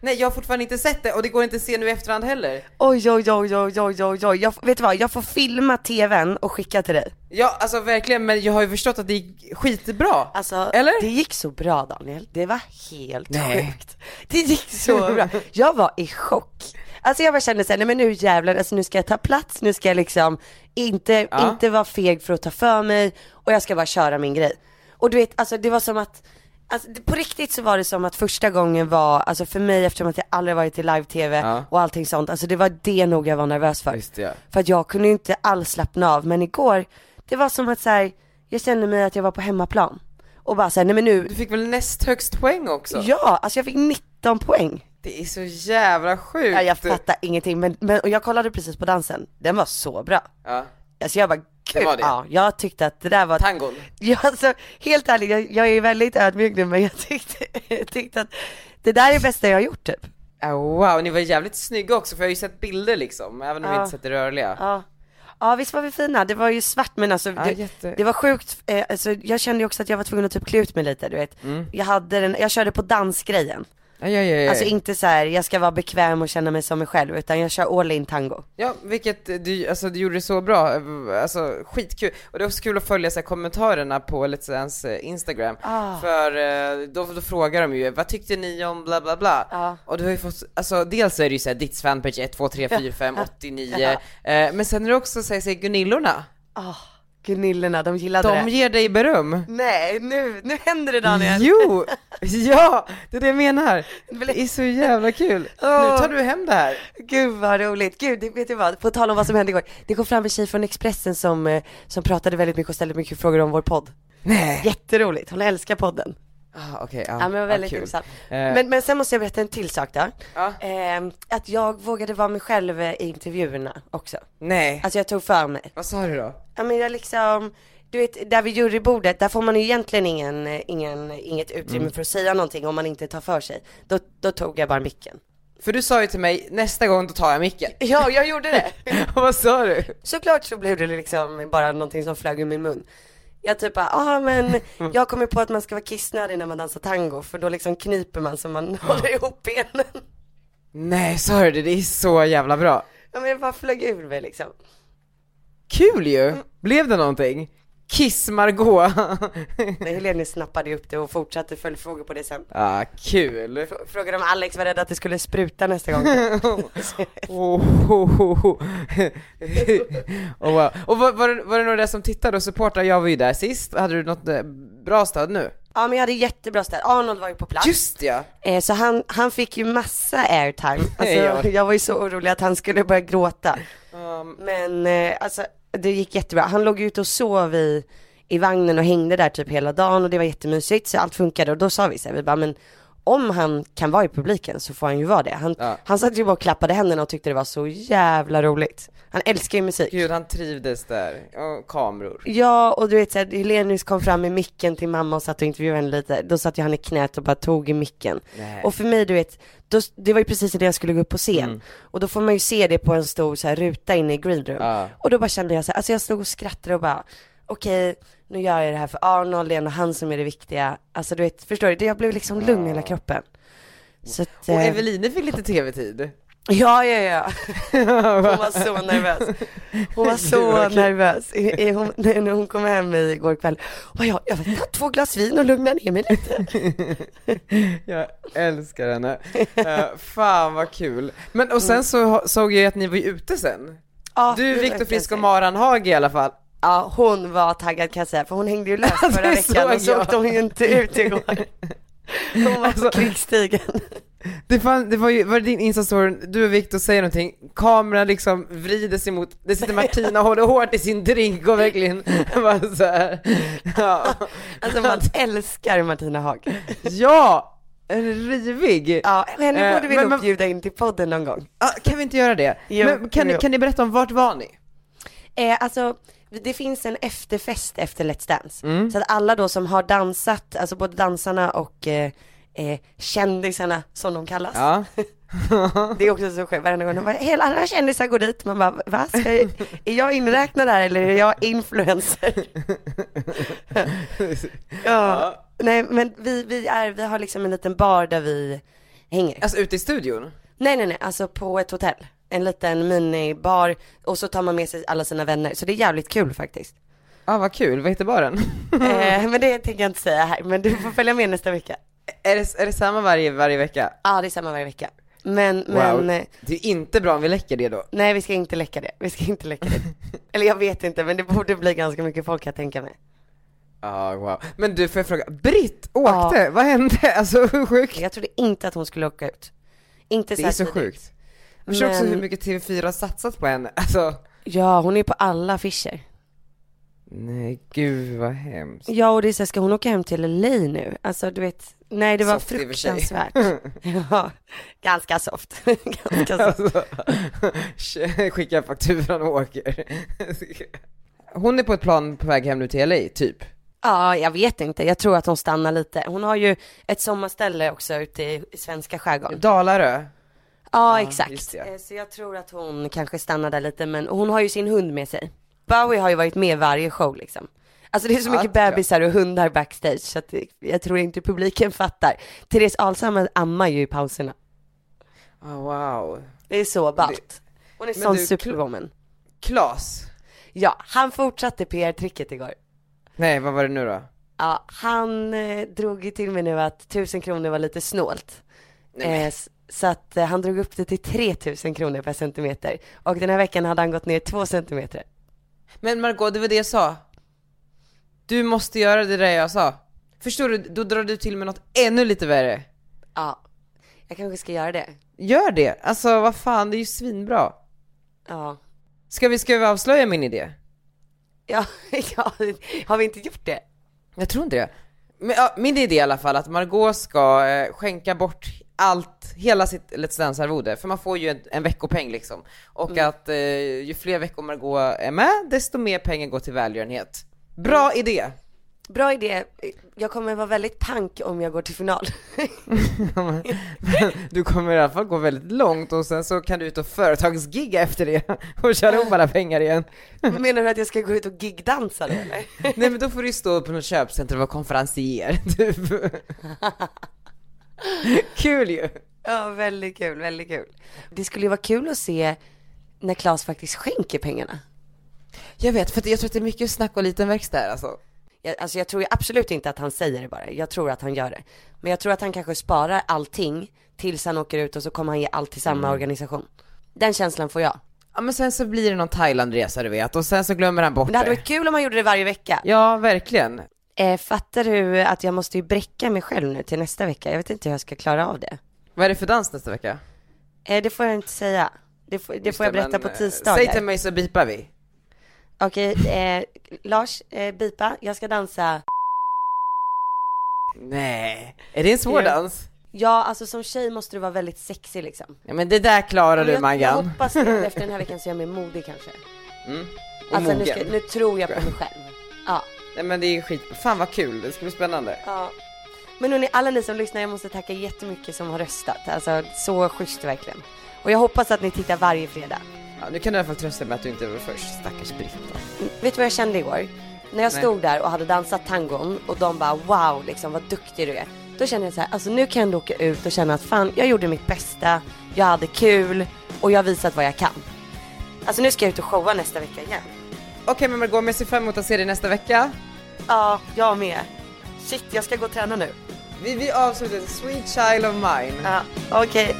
S4: Nej jag har fortfarande inte sett det och det går inte att se nu i efterhand heller.
S2: Oj, oj, oj, oj, oj, oj, oj. Jag, vet du vad, jag får filma tvn och skicka till dig.
S4: Ja alltså verkligen, men jag har ju förstått att det gick skitbra.
S2: Alltså,
S4: Eller?
S2: det gick så bra Daniel. Det var helt
S4: Nej.
S2: sjukt. Det gick så bra. Jag var i chock. Alltså jag bara kände såhär, nej men nu jävlar, alltså nu ska jag ta plats, nu ska jag liksom inte,
S4: Ja.
S2: inte vara feg för att ta för mig och jag ska bara köra min grej. Och du vet, alltså det var som att, alltså, det- på riktigt så var det som att första gången var, alltså för mig eftersom att jag aldrig varit i live-tv
S4: Ja.
S2: och allting sånt, alltså det var det nog jag var nervös för.
S4: Visst, ja.
S2: För att jag kunde ju inte alls slappna av, men igår, det var som att så här, jag kände mig att jag var på hemmaplan. Och bara såhär, nej men nu,
S4: Du fick väl näst högst poäng också?
S2: ja, alltså jag fick 19 poäng.
S4: Det är så jävla sjukt!
S2: Ja, jag fattar ingenting, men, men och jag kollade precis på dansen, den var så bra.
S4: Ja.
S2: Alltså jag bara, gud,
S4: var det.
S2: ja, jag tyckte att det där var
S4: Tangon.
S2: Ja, alltså, helt ärligt, jag, jag är väldigt ödmjuk nu men jag tyckte, jag tyckte att det där är det bästa jag har gjort typ.
S4: Ah, wow, ni var jävligt snygga också för jag har ju sett bilder liksom, även om
S2: Ja.
S4: jag inte sett det rörliga.
S2: Ja. ja, visst var vi fina. Det var ju svart men alltså
S4: Ja,
S2: det,
S4: jätte-
S2: det var sjukt. Eh, alltså, jag kände ju också att jag var tvungen att typ klä ut mig lite, du vet.
S4: Mm.
S2: Jag, hade den, jag körde på dansgrejen.
S4: Ja, ja, ja, ja.
S2: Alltså inte så här, jag ska vara bekväm och känna mig som mig själv utan jag kör all in tango.
S4: ja, vilket eh, du, alltså, du gjorde det så bra, alltså skitkul. Och det är också kul att följa så här, kommentarerna på Let's Dance eh, Instagram.
S2: Ah.
S4: För eh, då, då frågar de ju, vad tyckte ni om bla bla bla?
S2: Ja.
S4: Och du har ju fått, alltså dels är det ju såhär Ditts fanpage 1, 2, 3, 4, 5, 89.
S2: Ja.
S4: Eh, men sen är det också såhär, så här, Gunillorna,
S2: Ah, Gunillorna, de gillade
S4: de
S2: det.
S4: ger dig beröm.
S2: Nej, nu, nu händer det Daniel.
S4: Jo! Ja! Det är det jag menar. Det är så jävla kul. Nu tar du hem det här.
S2: Gud vad roligt. Gud, det- vet du vad? På tal om vad som hände igår. Det kom fram en tjej från Expressen som, eh, som pratade väldigt mycket och ställde mycket frågor om vår podd.
S4: Nej.
S2: Jätteroligt, hon älskar podden.
S4: Ah, Okej, ja.
S2: Ja, men det
S4: ja,
S2: var väldigt
S4: kul.
S2: intressant.
S4: Eh.
S2: Men, men sen måste jag berätta en till sak då.
S4: Ja.
S2: Ehm, att jag vågade vara mig själv eh, i intervjuerna också.
S4: Nej.
S2: Alltså jag tog för mig.
S4: Vad sa du då?
S2: Ja men jag liksom, du vet, där vid jurybordet, där får man ju egentligen ingen, ingen, inget utrymme
S4: Mm.
S2: för att säga någonting om man inte tar för sig. Då, då tog jag bara micken.
S4: För du sa ju till mig, nästa gång då tar jag micken.
S2: Ja, jag gjorde det.
S4: Vad sa du?
S2: Såklart så blev det liksom bara någonting som flög ur min mun. Jag typ bara, ah men jag kommer på att man ska vara kissnödig när man dansar tango för då liksom kniper man så man håller ihop benen.
S4: Nej, sa du det? Det är så jävla bra.
S2: Ja men jag bara flög ur mig liksom.
S4: Kul ju! Mm. Blev det någonting? kiss Margot.
S2: Men Helene snappade ju upp det och fortsatte följdfrågor på det sen.
S4: ah, kul.
S2: Frågade om Alex var rädd att det skulle spruta nästa gång.
S4: Oh, oh, oh, oh. Och vad- Och var, var, det- var det några där som tittade och supportade? Jag var ju där sist. Hade du något eh, bra stöd nu?
S2: ja men jag hade jättebra stöd, Arnold var ju på plats.
S4: Just ja!
S2: Eh, så han, han fick ju massa airtime. Alltså,
S4: Ja.
S2: jag var ju så orolig att han skulle börja gråta.
S4: Um,
S2: Men eh, alltså, det gick jättebra. Han låg ute och sov i, i vagnen och hängde där typ hela dagen och det var jättemysigt så allt funkade och då sa vi så här, vi bara men om han kan vara i publiken så får han ju vara det. Han, han satt ju bara och klappade händerna och tyckte det var så jävla roligt. Han älskar ju musik.
S4: Gud, han trivdes där. Och kameror.
S2: Ja, och du vet såhär, Helenius kom fram med micken till mamma och satt och intervjuade henne lite. Då satt ju han i knät och bara tog i micken.
S4: Nej.
S2: Och för mig, du vet, då, det var ju precis när jag skulle gå upp på scen.
S4: Mm.
S2: Och då får man ju se det på en stor så här, ruta inne i greenroom. Och då bara kände jag så här, alltså jag stod och skrattade och bara, okej, nu gör jag det här för Arnold, det är ändå han som är det viktiga. Alltså du vet, förstår du? Det- Jag blev liksom lugn i hela kroppen. Så att,
S4: Och
S2: eh,
S4: Eveline fick lite tv-tid.
S2: Ja, ja, ja. Hon var så nervös. Hon var
S4: Gud,
S2: så
S4: vad kul.
S2: nervös. I- i- Hon, när när hon kom hem igår kväll. Och jag, jag vill ta två glas vin och lugna ner mig lite.
S4: Jag älskar henne. Eh, fan vad kul. Men och sen så ha- såg jag ju att ni var ju ute sen.
S2: Ja, det
S4: Du, Viktor
S2: verkar
S4: Frisk och
S2: sig.
S4: Maran Hag i alla fall.
S2: Ja, hon var taggad kan jag säga, för hon hängde ju lös förra
S4: det
S2: veckan och
S4: såg
S2: så
S4: jag.
S2: åkte hon ju inte ut igår. Hon var på krigsstigen.
S4: Det, fan, det var ju, var det din instastory, du och Viktor säger någonting, kameran liksom vrider sig mot, det sitter Martina och håller hårt i sin drink och verkligen bara så här. Ja.
S2: Alltså man älskar Martina Haag.
S4: ja, en rivig.
S2: Ja, henne
S4: Eh,
S2: borde vi
S4: men-
S2: nog
S4: men-
S2: bjuda in till podden någon gång.
S4: Ah, kan vi inte göra det?
S2: Jo,
S4: Men kan, ni-
S2: jo.
S4: kan ni berätta om vart var ni?
S2: Eh, alltså, det finns en efterfest efter Let's Dance.
S4: Mm.
S2: Så att alla då som har dansat, alltså både dansarna och eh, eh, kändisarna som de kallas.
S4: Ja.
S2: Det är också så skönt varenda gång. De bara, hela alla kändisar går dit. Man bara, va? Ska jag, är jag inräknad här eller är jag influencer? ja. Nej men vi, vi, är, vi har liksom en liten bar där vi hänger.
S4: Alltså ute i studion?
S2: Nej nej nej, alltså på ett hotell. En liten minibar och så tar man med sig alla sina vänner. Så det är jävligt kul faktiskt.
S4: Ja, ah, vad kul, vad heter baren?
S2: eh, men det tänker jag inte säga här, men du får följa med nästa vecka.
S4: Är det, är det samma varje, varje vecka?
S2: Ja, det är samma varje vecka. Men,
S4: Wow.
S2: men, eh,
S4: Det är inte bra om vi läcker det då.
S2: nej vi ska inte läcka det. Vi ska inte läcka det. Eller jag vet inte, men det borde bli ganska mycket folk kan jag tänka mig.
S4: Ja, Ah, wow. Men du, får jag fråga, Britt åkte, vad hände? Alltså hur sjukt?
S2: Jag trodde inte att hon skulle åka ut. Inte
S4: Det är så
S2: tidigt.
S4: sjukt. Jag förstår också
S2: Men-
S4: hur mycket TV4 har satsat på henne, alltså.
S2: Ja, hon är på alla affischer.
S4: Nej, gud vad hemskt.
S2: Ja, och det är så här, ska hon åka hem till LA nu? Alltså du vet, nej det var
S4: Soft i och för sig.
S2: fruktansvärt. ja, ganska soft. ganska soft.
S4: Alltså, skicka fakturan och åker. Hon är på ett plan på väg hem nu till LA, typ.
S2: Ja, jag vet inte. Jag tror att hon stannar lite. Hon har ju ett sommarställe också ute i i svenska skärgården.
S4: Dalarö.
S2: Ja,
S4: just
S2: exakt.
S4: det.
S2: Eh, Så jag tror att hon kanske stannar där lite, men hon har ju sin hund med sig. Bowie har ju varit med varje show liksom. Alltså det är så
S4: Ja,
S2: mycket
S4: det tror jag.
S2: bebisar och hundar backstage så att det- jag tror inte publiken fattar. Therese Alshammar ammar ju i pauserna.
S4: Ah, wow.
S2: Det är så ballt. Hon är
S4: Men
S2: sån
S4: du, Kla-
S2: superwoman.
S4: Klas.
S2: Ja, han fortsatte PR-tricket igår.
S4: Nej, vad var det nu då?
S2: Ja, han eh, drog ju till mig nu att 1000 kronor var lite snålt. Eh, s- så att eh, han drog upp det till 3000 kronor per centimeter. Och den här veckan hade han gått ner två centimeter.
S4: Men Margot, det var det jag sa. Du måste göra det där jag sa. Förstår du? Då drar du till med något ännu lite värre.
S2: Ja, jag kanske ska göra det.
S4: Gör det! Alltså vad fan, det är ju svinbra.
S2: Ja,
S4: Ska vi, ska vi avslöja min idé?
S2: ja, ja har vi inte gjort det?
S4: Jag tror inte det. Men, ja, min idé i alla fall att Margot ska eh, skänka bort allt, hela sitt Let's Dance-arvode, för man får ju en, en veckopeng liksom. Och att eh, ju fler veckor Margot är med, desto mer pengar går till välgörenhet. Bra idé!
S2: Bra idé. Jag kommer vara väldigt pank om jag går till final.
S4: Du kommer i alla fall gå väldigt långt och sen så kan du ut och företagsgigga efter det och köra ihop alla pengar igen.
S2: Menar du att jag ska gå ut och gigdansa då eller?
S4: Nej men då får du stå på något köpcenter och vara konferencier, typ. Kul ju!
S2: Ja, väldigt kul, väldigt kul. Det skulle ju vara kul att se när Claes faktiskt skänker pengarna.
S4: Jag vet, för att jag tror att det är mycket snack och liten växt där alltså.
S2: Jag, alltså jag tror ju absolut inte att han säger det bara, jag tror att han gör det. Men jag tror att han kanske sparar allting tills han åker ut och så kommer han ge allt till
S4: Mm.
S2: samma organisation. Den känslan får jag.
S4: Ja men sen så blir det någon Thailandresa du vet och sen så glömmer han bort det.
S2: Men det hade varit kul om han gjorde det varje vecka.
S4: Ja, verkligen.
S2: Eh, fattar du att jag måste ju bräcka mig själv nu till nästa vecka? Jag vet inte hur jag ska klara av det.
S4: Vad är det för dans nästa vecka?
S2: Eh, det får jag inte säga. Det får, det
S4: Just
S2: får jag berätta
S4: men,
S2: på
S4: eh,
S2: tisdagar.
S4: Säg till mig så bipar vi.
S2: Okej, eh, Lars, eh, bipa. Jag ska dansa.
S4: Nej, är det en svår
S2: Ja.
S4: dans?
S2: Ja, alltså som tjej måste du vara väldigt sexig liksom.
S4: Ja men det där klarar du
S2: jag, jag
S4: Maggan.
S2: hoppas nu efter den här veckan så är jag mer modig kanske.
S4: Mm. Och
S2: Alltså nu,
S4: mogen.
S2: ska, nu tror jag på mig själv. Ja.
S4: Nej men det är skit, fan vad kul, det ska bli spännande.
S2: ja. Men hörni, alla ni som lyssnar, jag måste tacka jättemycket som har röstat. Alltså så schysst verkligen. Och jag hoppas att ni tittar varje fredag.
S4: Ja, nu kan du i alla fall trösta dig med att du inte var först, stackars Britta.
S2: Vet du vad jag kände igår? När jag
S4: Nej.
S2: stod där och hade dansat tangon och de bara wow liksom vad duktig du är. Då kände jag så här, alltså nu kan jag ändå åka ut och känna att fan jag gjorde mitt bästa, jag hade kul och jag har visat vad jag kan. Alltså nu ska jag ut och showa nästa vecka igen.
S4: Okej men Margot, jag ser fram emot att se dig nästa vecka.
S2: Ja, jag med. Shit, jag ska gå och träna nu.
S4: Vi, vi avslutar Sweet Child of Mine.
S2: Ja, okej.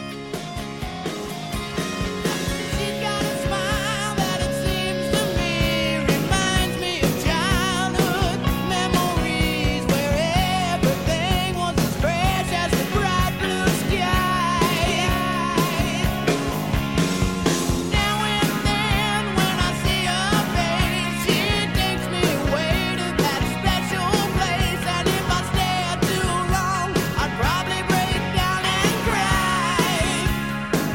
S10: I'd Probably break down and cry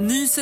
S10: Ny